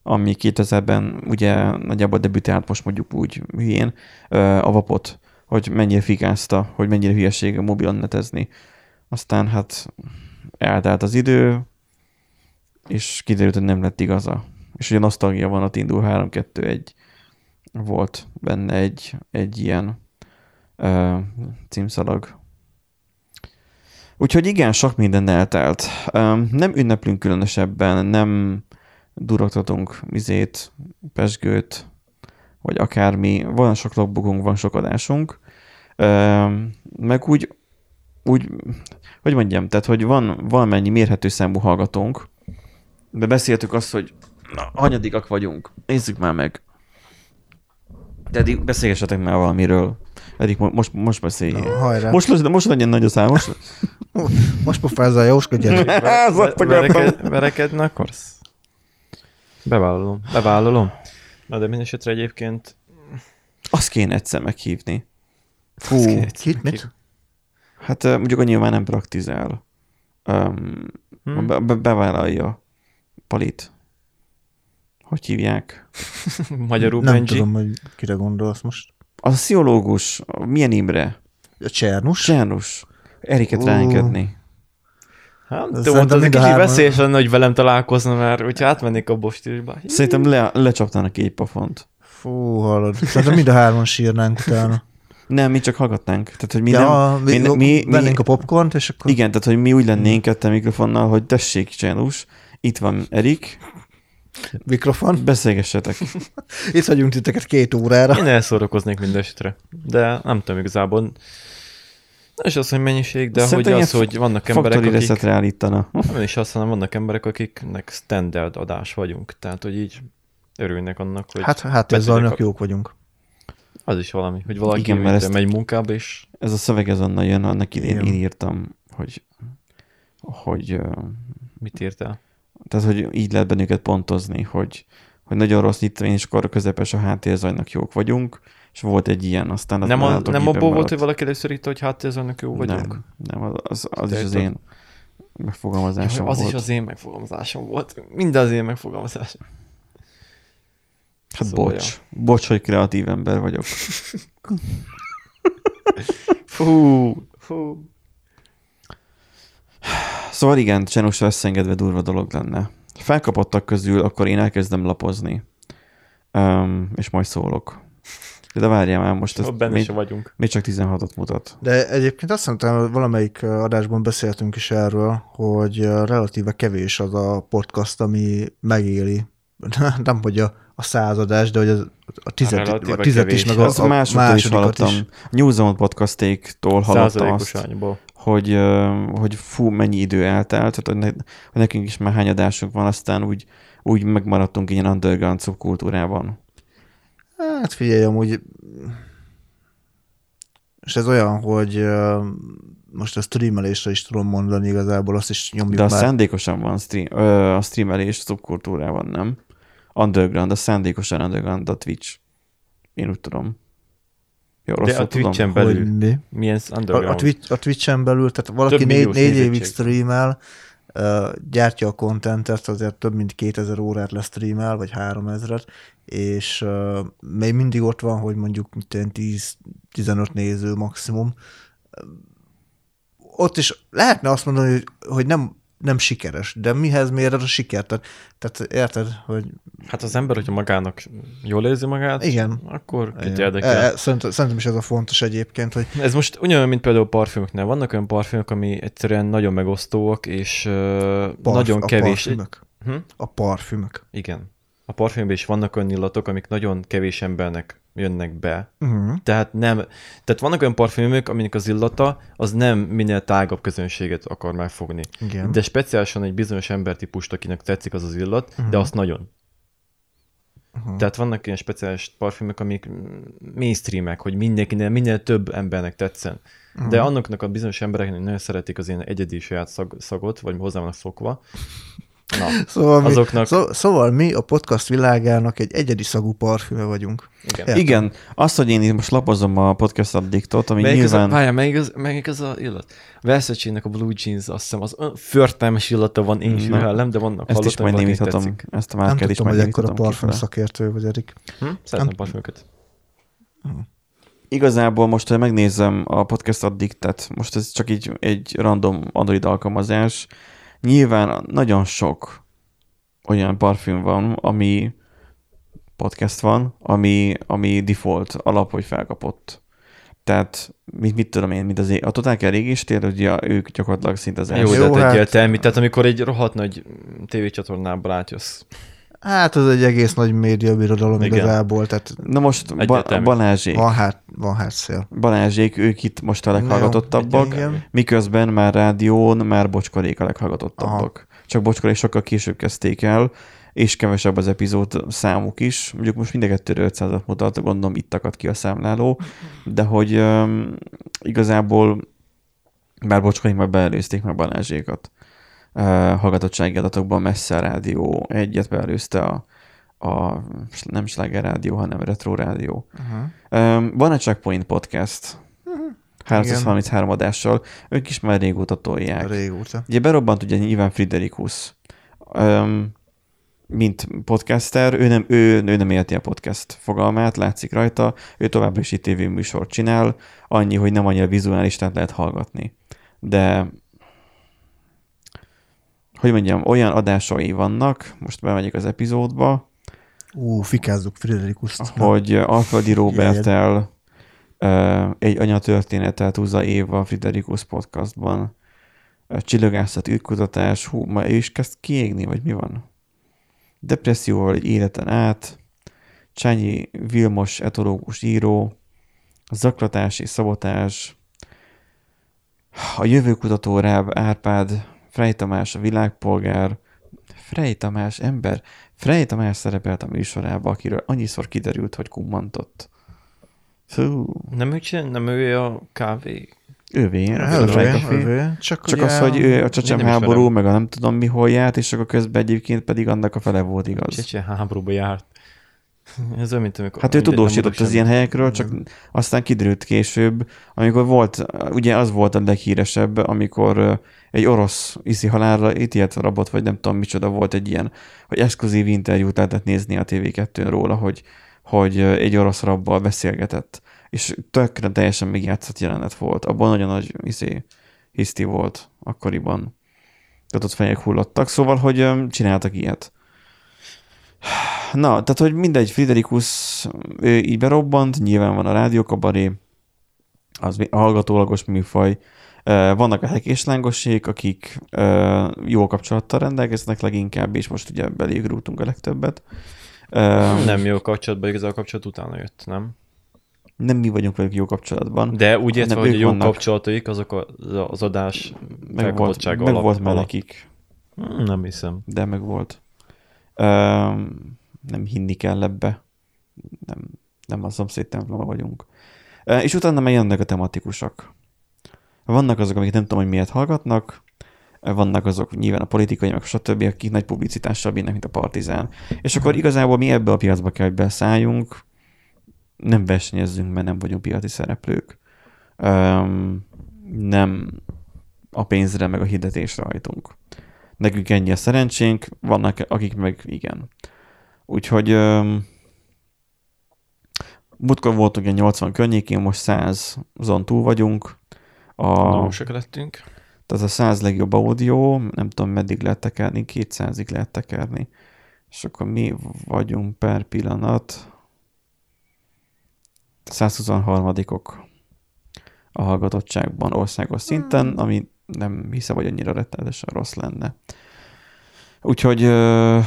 B: ami 2000-ben ugye nagyjából debütált, most mondjuk úgy hülyén, ö, a vapot, hogy mennyire fikázta, hogy mennyire hülyeség a mobilon netezni. Aztán hát eltelt az idő, és kiderült, hogy nem lett igaza. És ugye nosztalgia van, ott indul 3-2-1. Volt benne egy, egy ilyen ö, címszalag. Úgyhogy igen, sok minden eltelt. Ö, nem ünneplünk különösebben, nem durogtatunk mizét, pesgőt, vagy akármi. Van sok logbukunk, van sok adásunk. Ö, meg úgy, úgy, hogy mondjam, tehát, hogy van valamennyi mérhető számú hallgatónk, de beszéltük azt, hogy na, hanyadikak vagyunk. Nézzük már meg. De eddig beszélgessetek már valamiről. Eddig mo- most, most beszéljél.
C: Na, hajrá.
B: Most, most, most legyen nagy a szám, most,
C: Most pofázza, jóskodjál.
B: Ez azt akartam.
F: Vereked, verekedni akarsz?
D: Bevállalom. Bevállalom.
F: Na de mindesetre egyébként
B: Azt kéne egyszer meghívni.
C: Fú, kit, mit?
B: Hát ö, mondjuk annyi már nem praktizál. Um, hmm. be, be, bevállalja Palit. Hogy hívják?
F: magyarul
C: Nem
F: Benji.
C: tudom, hogy kire gondolsz most.
B: A sziológus, a milyen Imre?
C: A Csernus?
B: Sánus. Eriket
C: Ú.
B: ráengedni.
F: Hát, de
C: Szerintem
F: volt az egy
C: mind a
F: kicsit
C: hárman-
F: veszélyes lenne, hogy velem találkozna, mert hogyha átmennék abba a stílusba.
B: Szerintem le, lecsaptának egy pofont.
C: Fú, hallod. Szerintem mind a hárman sírnánk utána.
B: Nem, mi csak hallgatnánk. Tehát, hogy mi
C: ja,
B: nem... Mi, mi, mi,
C: vennénk a Hmm. popcornt, és akkor...
B: igen, tehát, hogy mi úgy lennénk ketten mikrofonnal, hogy tessék, Csánus, itt van Erik,
C: Mikrofon.
B: beszélgessetek.
C: Itt vagyunk titeket két órára.
F: Én elszórakoznék mindestre. De nem tudom igazából. Nem is az, hogy mennyiség, de
B: Szerintem
F: hogy az,
B: ilyen
F: hogy vannak emberek,
B: Faktori
F: akik...
B: reszetre állítana.
F: Nem is azt, hanem vannak emberek, akiknek standard adás vagyunk. Tehát, hogy így örülnek annak, hogy
C: Hát, hát ez
F: beszélnek
C: annak
F: a-
C: jók vagyunk.
F: az is valami, hogy valaki
B: Igen,
F: Igen,
B: mert
F: mert
B: ezt-
F: megy munkába, és
B: Ez a szöveg ez onnan jön, annak idén
C: Igen.
B: én írtam, hogy, hogy, ö,
F: mit írtál?
B: tehát, hogy így lehet bennünket pontozni, hogy, hogy nagyon rossz nyitvány, és akkor közepes a háttérzajnak jók vagyunk, és volt egy ilyen, aztán az
F: Nem,
B: már
F: a,
B: látok
F: nem
B: éppen
F: abból volt,
B: maradt.
F: hogy valaki először írta, hogy hát ez annak jó vagyunk.
B: Nem, nem az, az, az is
F: Te
B: az
F: írtad?
B: én megfogalmazásom
F: Az
B: volt.
F: is az én megfogalmazásom volt. Minden az én megfogalmazásom.
B: hát
F: szója.
B: bocs, bocs, hogy kreatív ember vagyok.
F: Fú, fú.
B: Szóval igen, Csenusra összeengedve durva dolog lenne. Felkapottak közül, akkor én elkezdem lapozni. Um, és majd szólok. De várjál már, most
F: Ott
B: ezt
F: benne
B: még,
F: se vagyunk.
B: még csak 16-ot mutat.
C: De egyébként azt hiszem, hogy valamelyik ö, adásban beszéltünk is erről, hogy ö, relatíve kevés az a podcast, ami megéli. Nem, hogy a, a századás, de hogy az, a tizet, a
F: Relatíve
C: tizet is,
F: kevés. Hát
C: meg a,
B: Ezt
C: a
B: másoktól is
C: másodikat
B: hallottam.
C: is.
B: New Zealand podcastéktól hallottam
F: Százalékos
B: azt,
F: arányból.
B: hogy, ö, hogy fú, mennyi idő eltelt, tehát hogy, ne, hogy nekünk is már hány adásunk van, aztán úgy, úgy megmaradtunk ilyen underground szubkultúrában.
C: Hát figyelj, amúgy... És ez olyan, hogy ö, most a streamelésre is tudom mondani igazából, azt is nyomjuk
B: De a
C: már.
B: szándékosan van stream, ö, a streamelés szubkultúrában, nem? Underground, a szándékosan underground a Twitch. Én úgy tudom. Jó,
F: De
B: rosszul
F: a
B: tudom.
F: Twitch-en
C: Hogy
F: belül.
C: mi?
F: Milyen
C: A, a,
F: underground?
C: Twitch, a Twitch-en belül, tehát valaki
F: Több
C: négy,
F: milliós
C: négy évig
F: nézettség.
C: streamel, ö, gyártja a kontentet, azért több mint 2000 órát lesztreamel, vagy 3000-et, és ö, még mindig ott van, hogy mondjuk mit tudom én, 10-15 néző maximum. Ott is lehetne azt mondani, hogy, hogy nem nem sikeres. De mihez mér ez a siker? Tehát, tehát érted, hogy
D: Hát az ember, hogyha magának jól érzi magát,
C: igen.
D: akkor kit
C: E,
D: érdekel.
C: e, szerintem, szerintem is ez a fontos egyébként, hogy
D: Ez most ugyanolyan, mint például parfümöknél. Vannak olyan parfümök, ami egyszerűen nagyon megosztóak, és uh,
C: parf,
D: nagyon
C: a
D: kevés.
C: parfümök.
D: Hm?
C: A parfümök.
D: Igen. A parfümben is vannak olyan illatok, amik nagyon kevés embernek jönnek be.
C: Uh-huh.
D: Tehát nem, tehát vannak olyan parfümök, aminek az illata az nem minél tágabb közönséget akar megfogni.
C: Igen.
D: De speciálisan egy bizonyos embertípust, akinek tetszik az az illat, uh-huh. de azt nagyon. Uh-huh. Tehát vannak ilyen speciális parfümök, amik mm, mainstreamek, hogy mindenkinél, minél több embernek tetszen. Uh-huh. De annaknak a bizonyos embereknek nagyon szeretik az ilyen egyedi saját szag, szagot, vagy hozzá vannak szokva. Na,
C: Szóval mi,
D: azoknak-
C: szó, szóval mi a podcast világának egy egyedi szagú parfüme vagyunk.
D: igen.
C: Értem.
B: Igen, azt, hogy én itt most lapozom a podcast addiktot, ami
D: Melyik az, a,
B: nyilván...
D: várjál, melyik, az, melyik az a illat? versace a Blue Jeans, azt hiszem, az olyan förtelmes illata van, én is
B: Na,
D: nem, de vannak
B: Mhm. Ezt is
D: hallottam,
B: majd
D: hogy valakinek
B: némíthatom,
D: tetszik.
B: ezt a
C: Nem
B: márkát is
C: tudtam,
B: majd
C: hogy ekkora parfüm
B: némíthatom.
C: szakértő vagy, Erik.
D: Hm? Szeretem parfümöket.
B: Igazából most, hogy megnézem a podcast addiktet, most ez csak így egy random Android alkalmazás, nyilván nagyon sok olyan parfüm van, ami podcast van, ami, ami default alap, hogy felkapott. Tehát mit, mit tudom én, mint az, é- a Total Care égéstér, ugye ők gyakorlatilag szinte az
D: Jó,
B: első.
D: jó
C: Jó,
D: de
C: hát-
D: hát... egyértelmű. Tehát amikor egy rohadt nagy tévécsatornából átjössz.
C: Hát az egy egész nagy médiabirodalom
D: Igen.
C: igazából, tehát
B: Na most ba-
D: Egyértelmű.
B: Balázsék,
C: van, hát, van hátszél.
B: Balázsék, ők itt most a leghallgatottabbak,
C: Igen.
B: miközben már rádión már bocskorék a leghallgatottabbak. Aha. Csak bocskorék sokkal később kezdték el, és kevesebb az epizód számuk is. Mondjuk most mind a kettőre 500-at mutat, gondolom itt akad ki a számláló,
C: Mhm.
B: de hogy um, igazából már bocskorék már beelőzték meg Balázsékat. Uh, hallgatottsági adatokban messze a rádió egyet beelőzte a, a nem sláger rádió, hanem retro rádió. Uh-huh. Um, van egy Checkpoint podcast, 333 adással, ők is már régóta tolják.
C: Régóta.
B: Ugye berobbant ugye nyilván Friderikus, um, mint podcaster, ő nem, ő, ő nem élti a podcast fogalmát, látszik rajta, ő továbbra is itt tévéműsort csinál, annyi, hogy nem annyira vizuális, tehát lehet hallgatni. De hogy mondjam, olyan adásai vannak, most bemegyek az epizódba,
C: Ú, fikázzuk Friderikuszt.
B: hogy Alföldi Róbertel ö, egy anyatörténetet húzza Éva a Friderikus podcastban. Ö, Csillagászat, űrkutatás, hú, ma ő is kezd kiégni, vagy mi van? Depresszióval egy életen át, Csányi Vilmos etológus író, zaklatás és szabotás, a jövőkutató Ráb Árpád, Frey Tamás a világpolgár, Frey Tamás ember, Frey Tamás szerepelt a műsorában, akiről annyiszor kiderült, hogy kummantott. Fú,
D: Nem ő csinál, nem ő a kávé.
B: ővé.
C: Hát,
B: a
C: övé,
B: Frey Café.
C: övé. Csak,
B: Csak
C: ugye
B: az, hogy ő a csecsemő
D: nem ismerem.
B: háború, meg a nem tudom mi hol járt, és akkor közben egyébként pedig annak a fele volt igaz.
D: Csecsen háborúba járt. Ez olyan, mint amikor...
B: Hát ő
D: mindegy, nem
B: tudósított
D: mondok
B: az ilyen helyekről, csak aztán kiderült később, amikor volt, ugye az volt a leghíresebb, amikor ö, egy orosz iszi halálra ítélt rabot, vagy nem tudom micsoda volt egy ilyen, hogy exkluzív interjút lehetett nézni a TV2-n róla, hogy, hogy ö, egy orosz rabbal beszélgetett, és tökre teljesen megjátszott jelenet volt. Abban nagyon nagy izé, hiszti volt akkoriban. Tehát ott fejek hullottak, szóval, hogy ö, csináltak ilyet. Na, tehát, hogy mindegy, Friderikus ő így berobbant, nyilván van a rádiókabaré, az mi- hallgatólagos műfaj. Ö, Vannak a hek és lángosék, akik ö, jó kapcsolattal rendelkeznek leginkább, és most ugye beléjük rúgtunk a legtöbbet. Ö,
D: sem. Nem jó kapcsolatban, igazán a kapcsolat utána jött, nem?
B: Nem mi vagyunk velük jó kapcsolatban.
D: De úgy értve,
B: Hát Nem,
D: hogy a
B: ők
D: jó
B: vannak.
D: kapcsolataik, azok a- az adás
B: meg volt,
D: felkapottsága
B: meg
D: alap-
B: volt már
D: alap.
B: nekik,
D: Hm, Nem hiszem.
B: de meg volt. Ö, Nem hinni kell ebbe. Nem, nem a szomszéd temploma vagyunk. Ö, És utána meg jönnek a tematikusak. Vannak azok, amik nem tudom, hogy miért hallgatnak, vannak azok nyilván a politikai, meg stb., akik nagy publicitással bírnak, mint a partizán. És akkor igazából mi ebbe a piacba kell, hogy beszálljunk, nem versenyezzünk, mert nem vagyunk piaci szereplők. Öm, nem a pénzre, meg a hirdetésre hajtunk. Nekünk ennyi a szerencsénk, vannak akik meg igen. Úgyhogy öm, múltkor voltunk egy 80 környékén, most 100-on túl vagyunk. A,
D: Nagyon sok lettünk.
B: Tehát az a 100 legjobb audio, nem tudom meddig lehet tekerni, 200-ig lehet tekerni. És akkor mi vagyunk per pillanat 123-ok a hallgatottságban országos szinten, ami nem hiszem, hogy annyira rettenetesen rossz lenne. Úgyhogy ö,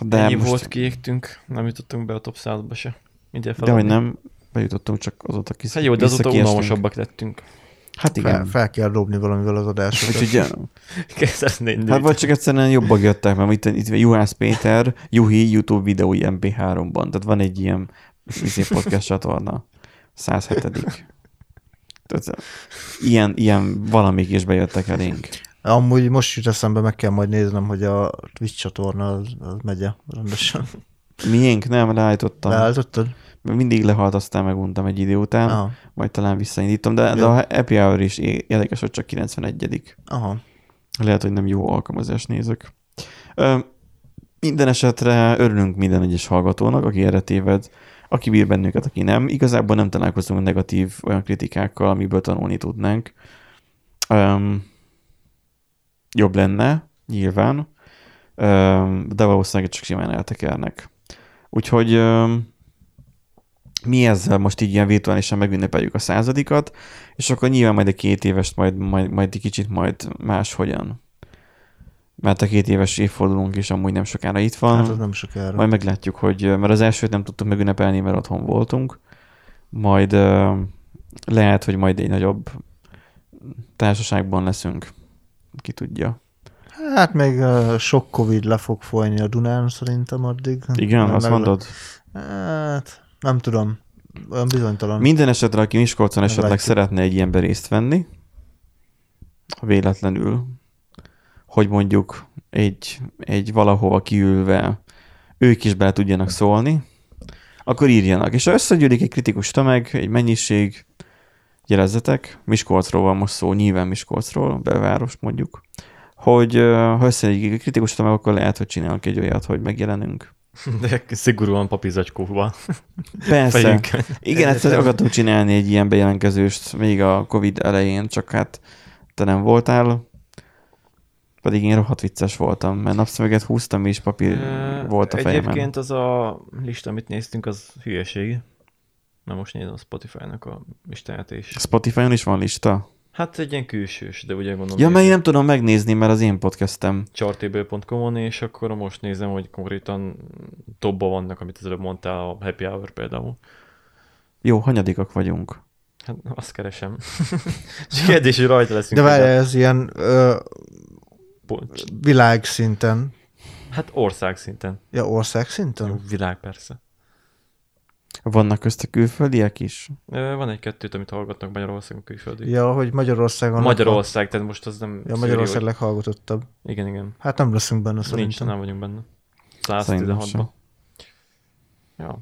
B: de
D: De Ennyi
B: most,
D: volt, kiégtünk, nem jutottunk be a top 100-ba se. Mindjárt
B: de hogy
D: feladni.
B: nem, bejutottunk, csak azóta kis,
D: Hát jó, de azóta
B: visszakiestünk.
D: unalmasabbak lettünk.
B: Hát
C: Fel,
B: igen.
C: fel kell dobni valamivel az adásokat.
B: Úgyhogy,
D: Kezdetnél
B: hát vagy csak egyszerűen jobbak jöttek, mert itt, itt Juhász Péter, Juhi YouTube videói MP3-ban, tehát van egy ilyen izé, podcast csatorna, 107 tehát ilyen, ilyen valamik is bejöttek elénk.
C: Amúgy most jut eszembe, meg kell majd néznem, hogy a Twitch csatorna az, az megye rendesen.
B: Miénk nem, leállítottam.
C: Leállítottad?
B: Mindig lehalt, aztán meguntam egy idő után,
C: hát- Aha.
B: majd talán visszaindítom, de, de a Happy Hour is é- érdekes, hogy csak 91
C: Aha.
B: Lehet, hogy nem jó alkalmazást nézek. Ö, minden esetre örülünk minden egyes hallgatónak, aki erre téved, aki bír bennünket, aki nem. Igazából nem találkozunk negatív olyan kritikákkal, amiből tanulni tudnánk. Öm, jobb lenne, nyilván, öm, de valószínűleg csak simán eltekernek. Úgyhogy öm, mi ezzel most így ilyen virtuálisan megünnepeljük a századikat, és akkor nyilván majd a két évest majd, majd, majd egy kicsit majd máshogyan. Mert a két éves évfordulónk is amúgy nem sokára itt van.
C: Hát az nem sokára.
B: Majd meglátjuk, hogy, mert az elsőt nem tudtuk megünnepelni, mert otthon voltunk. Majd ö, lehet, hogy majd egy nagyobb társaságban leszünk. Ki tudja.
C: Hát még uh, sok Covid le fog folyni a Dunán szerintem addig.
B: Igen,
C: Nem
B: azt
C: meg-
B: mondod?
C: Hát nem tudom. Olyan bizonytalan.
B: Minden esetre, aki Miskolcon esetleg
C: Meglátjuk.
B: szeretne egy ilyenbe részt venni, ha véletlenül, hogy mondjuk egy, egy valahova kiülve ők is bele tudjanak szólni, akkor írjanak. És ha összegyűlik egy kritikus tömeg, egy mennyiség, jelezzetek, Miskolcról van most szó, nyilván Miskolcról, belváros mondjuk, hogy ö, ha összegyűlik egy kritikus tömeg, akkor lehet, hogy csinálunk egy olyat, hogy megjelenünk.
D: De szigorúan papízacskóval.
B: Persze.
D: Fejünk.
B: Igen, ezt akartunk csinálni egy ilyen bejelentkezőst még a Covid elején, csak hát te nem voltál, pedig én rohadt vicces voltam, mert napszöveget húztam és papír
D: Ö,
B: volt a fejemen.
D: Egyébként az a lista, amit néztünk, az hülyeség. Na most nézem a Spotify-nak a listáját is.
B: Spotify-on is van lista?
D: Hát egy ilyen külsős, de ugye gondolom...
B: Ja, mert én
D: ilyen
B: nem tudom megnézni, mert az én podcastem.
D: chartable.com-on, és akkor most nézem, hogy konkrétan topba vannak, amit az előbb mondtál, a Happy Hour például.
B: Jó, hanyadikak vagyunk.
D: Hát azt keresem. És kérdés, hogy rajta leszünk.
C: De
D: vagy
C: várj,
D: nem.
C: ez ilyen ö,
D: Po-
C: világszinten.
D: Hát ország szinten.
C: Ja, ország szinten?
D: Világ persze.
B: Vannak közt a külföldiek is?
D: Ö, Van egy-kettőt, amit hallgatnak Magyarországon külföldi.
C: Ja, hogy Magyarországon.
D: Magyarország, tehát most az nem...
C: Ja,
D: szűri,
C: Magyarország
D: hogy-
C: leghallgatottabb.
D: Igen, igen.
C: Hát nem leszünk benne
D: Nincs,
C: szerintem.
D: nem vagyunk benne.
B: Szerintem
D: 116-ban.
B: sem.
D: Ja.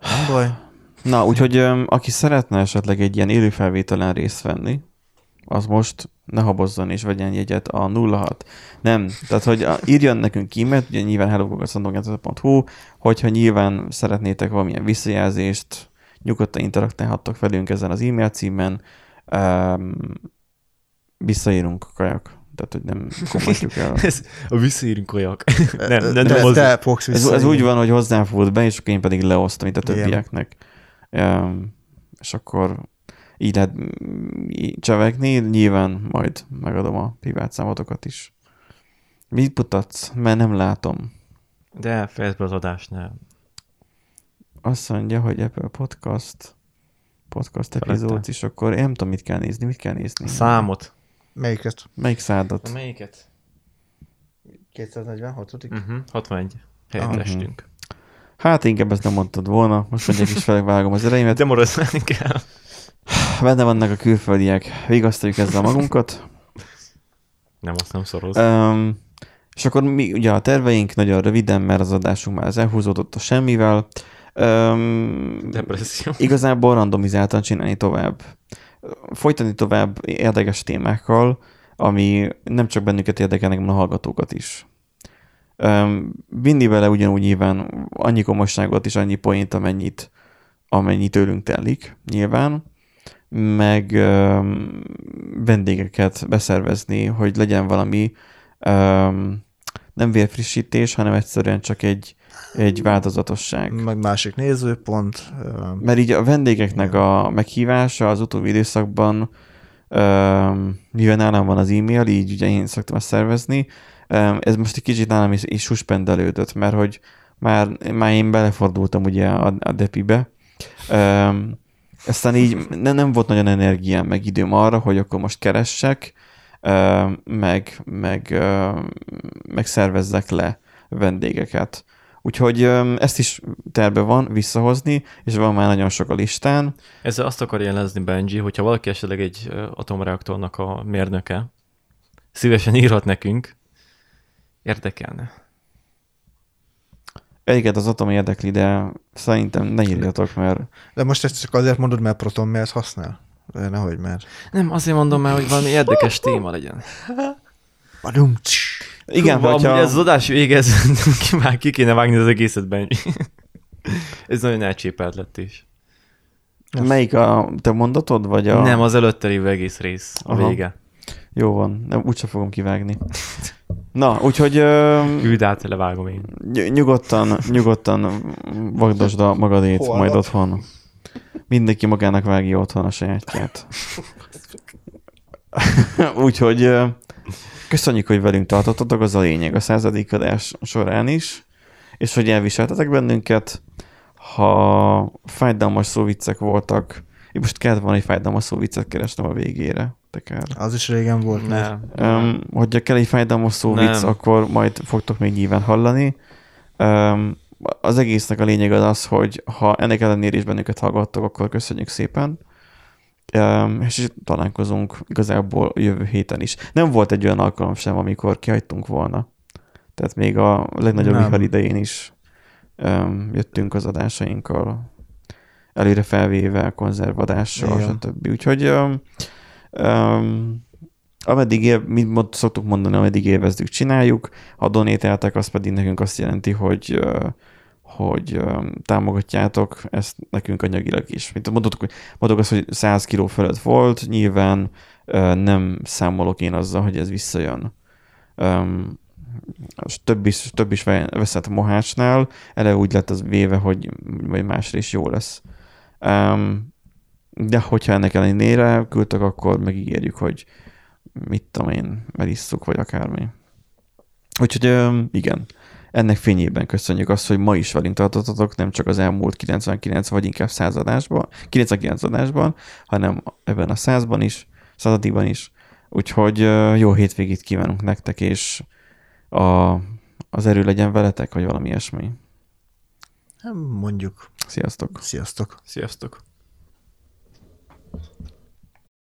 C: nem baj.
B: Na, úgyhogy öm, aki szeretne esetleg egy ilyen élőfelvételen részt venni, az most ne habozzon és vegyen jegyet a 06. Nem, tehát hogy a- írjon nekünk e-mailt, ugye nyilván hello.hu, hogyha nyilván szeretnétek valamilyen visszajelzést, nyugodtan interaktálhattok velünk ezen az e-mail címen, um, visszaírunk kajak, tehát hogy nem kommentjük el.
D: Ez a visszaírunk olyak. nem, nem,
C: Te-
D: nem az.
C: te fogsz
B: Ez,
C: vissza.
B: ez úgy van, hogy hozzám fut be, és akkor én pedig leosztom itt a
C: Igen.
B: többieknek. Um, és akkor így lehet mm, így csevegni, nyilván majd megadom a privát számotokat is. Mit mutatsz? Mert nem látom.
D: De fejezd be az adást, nem.
B: Azt mondja, hogy Apple Podcast, podcast
D: Felette.
B: epizód, és akkor én nem tudom, mit kell nézni, mit kell nézni.
D: A számot.
C: Melyiket?
B: Melyik szádat?
D: Melyiket?
C: 246
D: Uh-huh. 61. Helyet
C: Aha.
D: lestünk.
B: Hát inkább ezt nem mondtad volna, most mondják is felvágom az
C: Hát
B: elejémet.
D: De maradni kell.
B: Benne vannak a külföldiek, vigasztaljuk ezzel magunkat.
D: Nem, azt nem szoroz.
B: Um, és akkor mi, ugye a terveink nagyon röviden, mert az adásunk már az elhúzódott a semmivel. Um,
D: Depresszió.
B: igazából randomizáltan csinálni tovább. Folytani tovább érdekes témákkal, ami nem csak bennünket érdekelnek, hanem a hallgatókat is. Um, vinni vele ugyanúgy nyilván annyi komolyságot és annyi poént, amennyit, amennyi tőlünk telik, nyilván, meg öm, vendégeket beszervezni, hogy legyen valami öm, nem vérfrissítés, hanem egyszerűen csak egy, egy változatosság.
C: Meg másik nézőpont. ö,
B: Mert így a vendégeknek a meghívása az utóbbi időszakban, öm, mivel nálam van az e-mail, így ugye én szoktam ezt szervezni, öm, ez most egy kicsit nálam is, is suspendelődött, mert hogy már, már én belefordultam ugye a, a depibe, öm, aztán így ne, nem volt nagyon energiám, meg időm arra, hogy akkor most keressek, öm, meg, meg, öm, meg szervezzek le vendégeket. Úgyhogy öm, ezt is terve van visszahozni, és van már nagyon sok a listán.
D: Ezzel azt akar jelezni Benji, hogyha valaki esetleg egy ö, atomreaktornak a mérnöke, szívesen írhat nekünk, érdekelne.
B: Egyiket az atom érdekli, de szerintem ne írjatok, mert
C: De most ezt csak azért mondod, mert Proton miért használ? De nehogy már.
D: Nem, azért mondom már, hogy valami érdekes téma legyen.
C: Badum,
B: igen,
D: Hú,
B: hogyha...
D: amúgy ez az adás vége, ez ki már ki kéne vágni az egészet, Benji. ez nagyon elcsépelt lett is.
B: Melyik a te mondatod, vagy a...
D: Ja. Nem, az előtte lévő egész rész, a
B: Aha.
D: Aha. vége.
B: Jó van, nem, úgyse fogom kivágni. Na, úgyhogy ö,
D: Küld át, levágom én.
B: ny- nyugodtan, nyugodtan vagdosd a magadét
C: Holnap.
B: majd otthon. Mindenki magának vágja otthon a sajátját. úgyhogy ö, köszönjük, hogy velünk tartottatok, az a lényeg a századik adás során is, és hogy elviseltetek bennünket. Ha fájdalmas szóviccek voltak, én most kellett volna egy fájdalmas szóviccet keresnem a végére. De kár.
C: Az is régen volt. már.
D: Nem.
B: Um, hogyha kell egy fájdalmas szó vicc,
D: Nem.
B: akkor majd fogtok még nyilván hallani. Um, az egésznek a lényeg az az, hogy ha ennek ellenére is bennünket hallgattok, akkor köszönjük szépen. Um, és találkozunk igazából jövő héten is. Nem volt egy olyan alkalom sem, amikor kihagytunk volna. Tehát még a legnagyobb
C: Nem.
B: vihar idején is um, jöttünk az adásainkkal előre felvéve, konzervadással,
C: Igen.
B: stb. Úgyhogy um, um, Ameddig év, mint mond, szoktuk mondani, ameddig élvezzük, csináljuk. Ha donételtek, az pedig nekünk azt jelenti, hogy ö, hogy ö, támogatjátok ezt nekünk anyagilag is. Mint mondtuk, mondok azt, hogy 100 kiló fölött volt, nyilván ö, nem számolok én azzal, hogy ez visszajön. Öm, az több is, több is ve- veszett Mohácsnál, eleve úgy lett az véve, hogy vagy másra is jó lesz. Öm, de hogyha ennek ellenére küldtek, akkor megígérjük, hogy mit tudom én, elisszuk, vagy akármi. Úgyhogy öm, igen, ennek fényében köszönjük azt, hogy ma is velünk tartottatok, nem csak az elmúlt 99 vagy inkább 100 adásban, 99 adásban, hanem ebben a 100-ban is, 100 is. Úgyhogy ö, jó hétvégét kívánunk nektek, és a, az erő legyen veletek, vagy valami ilyesmi.
C: Hát Mondjuk.
B: Sziasztok!
C: Sziasztok.
D: Sziasztok.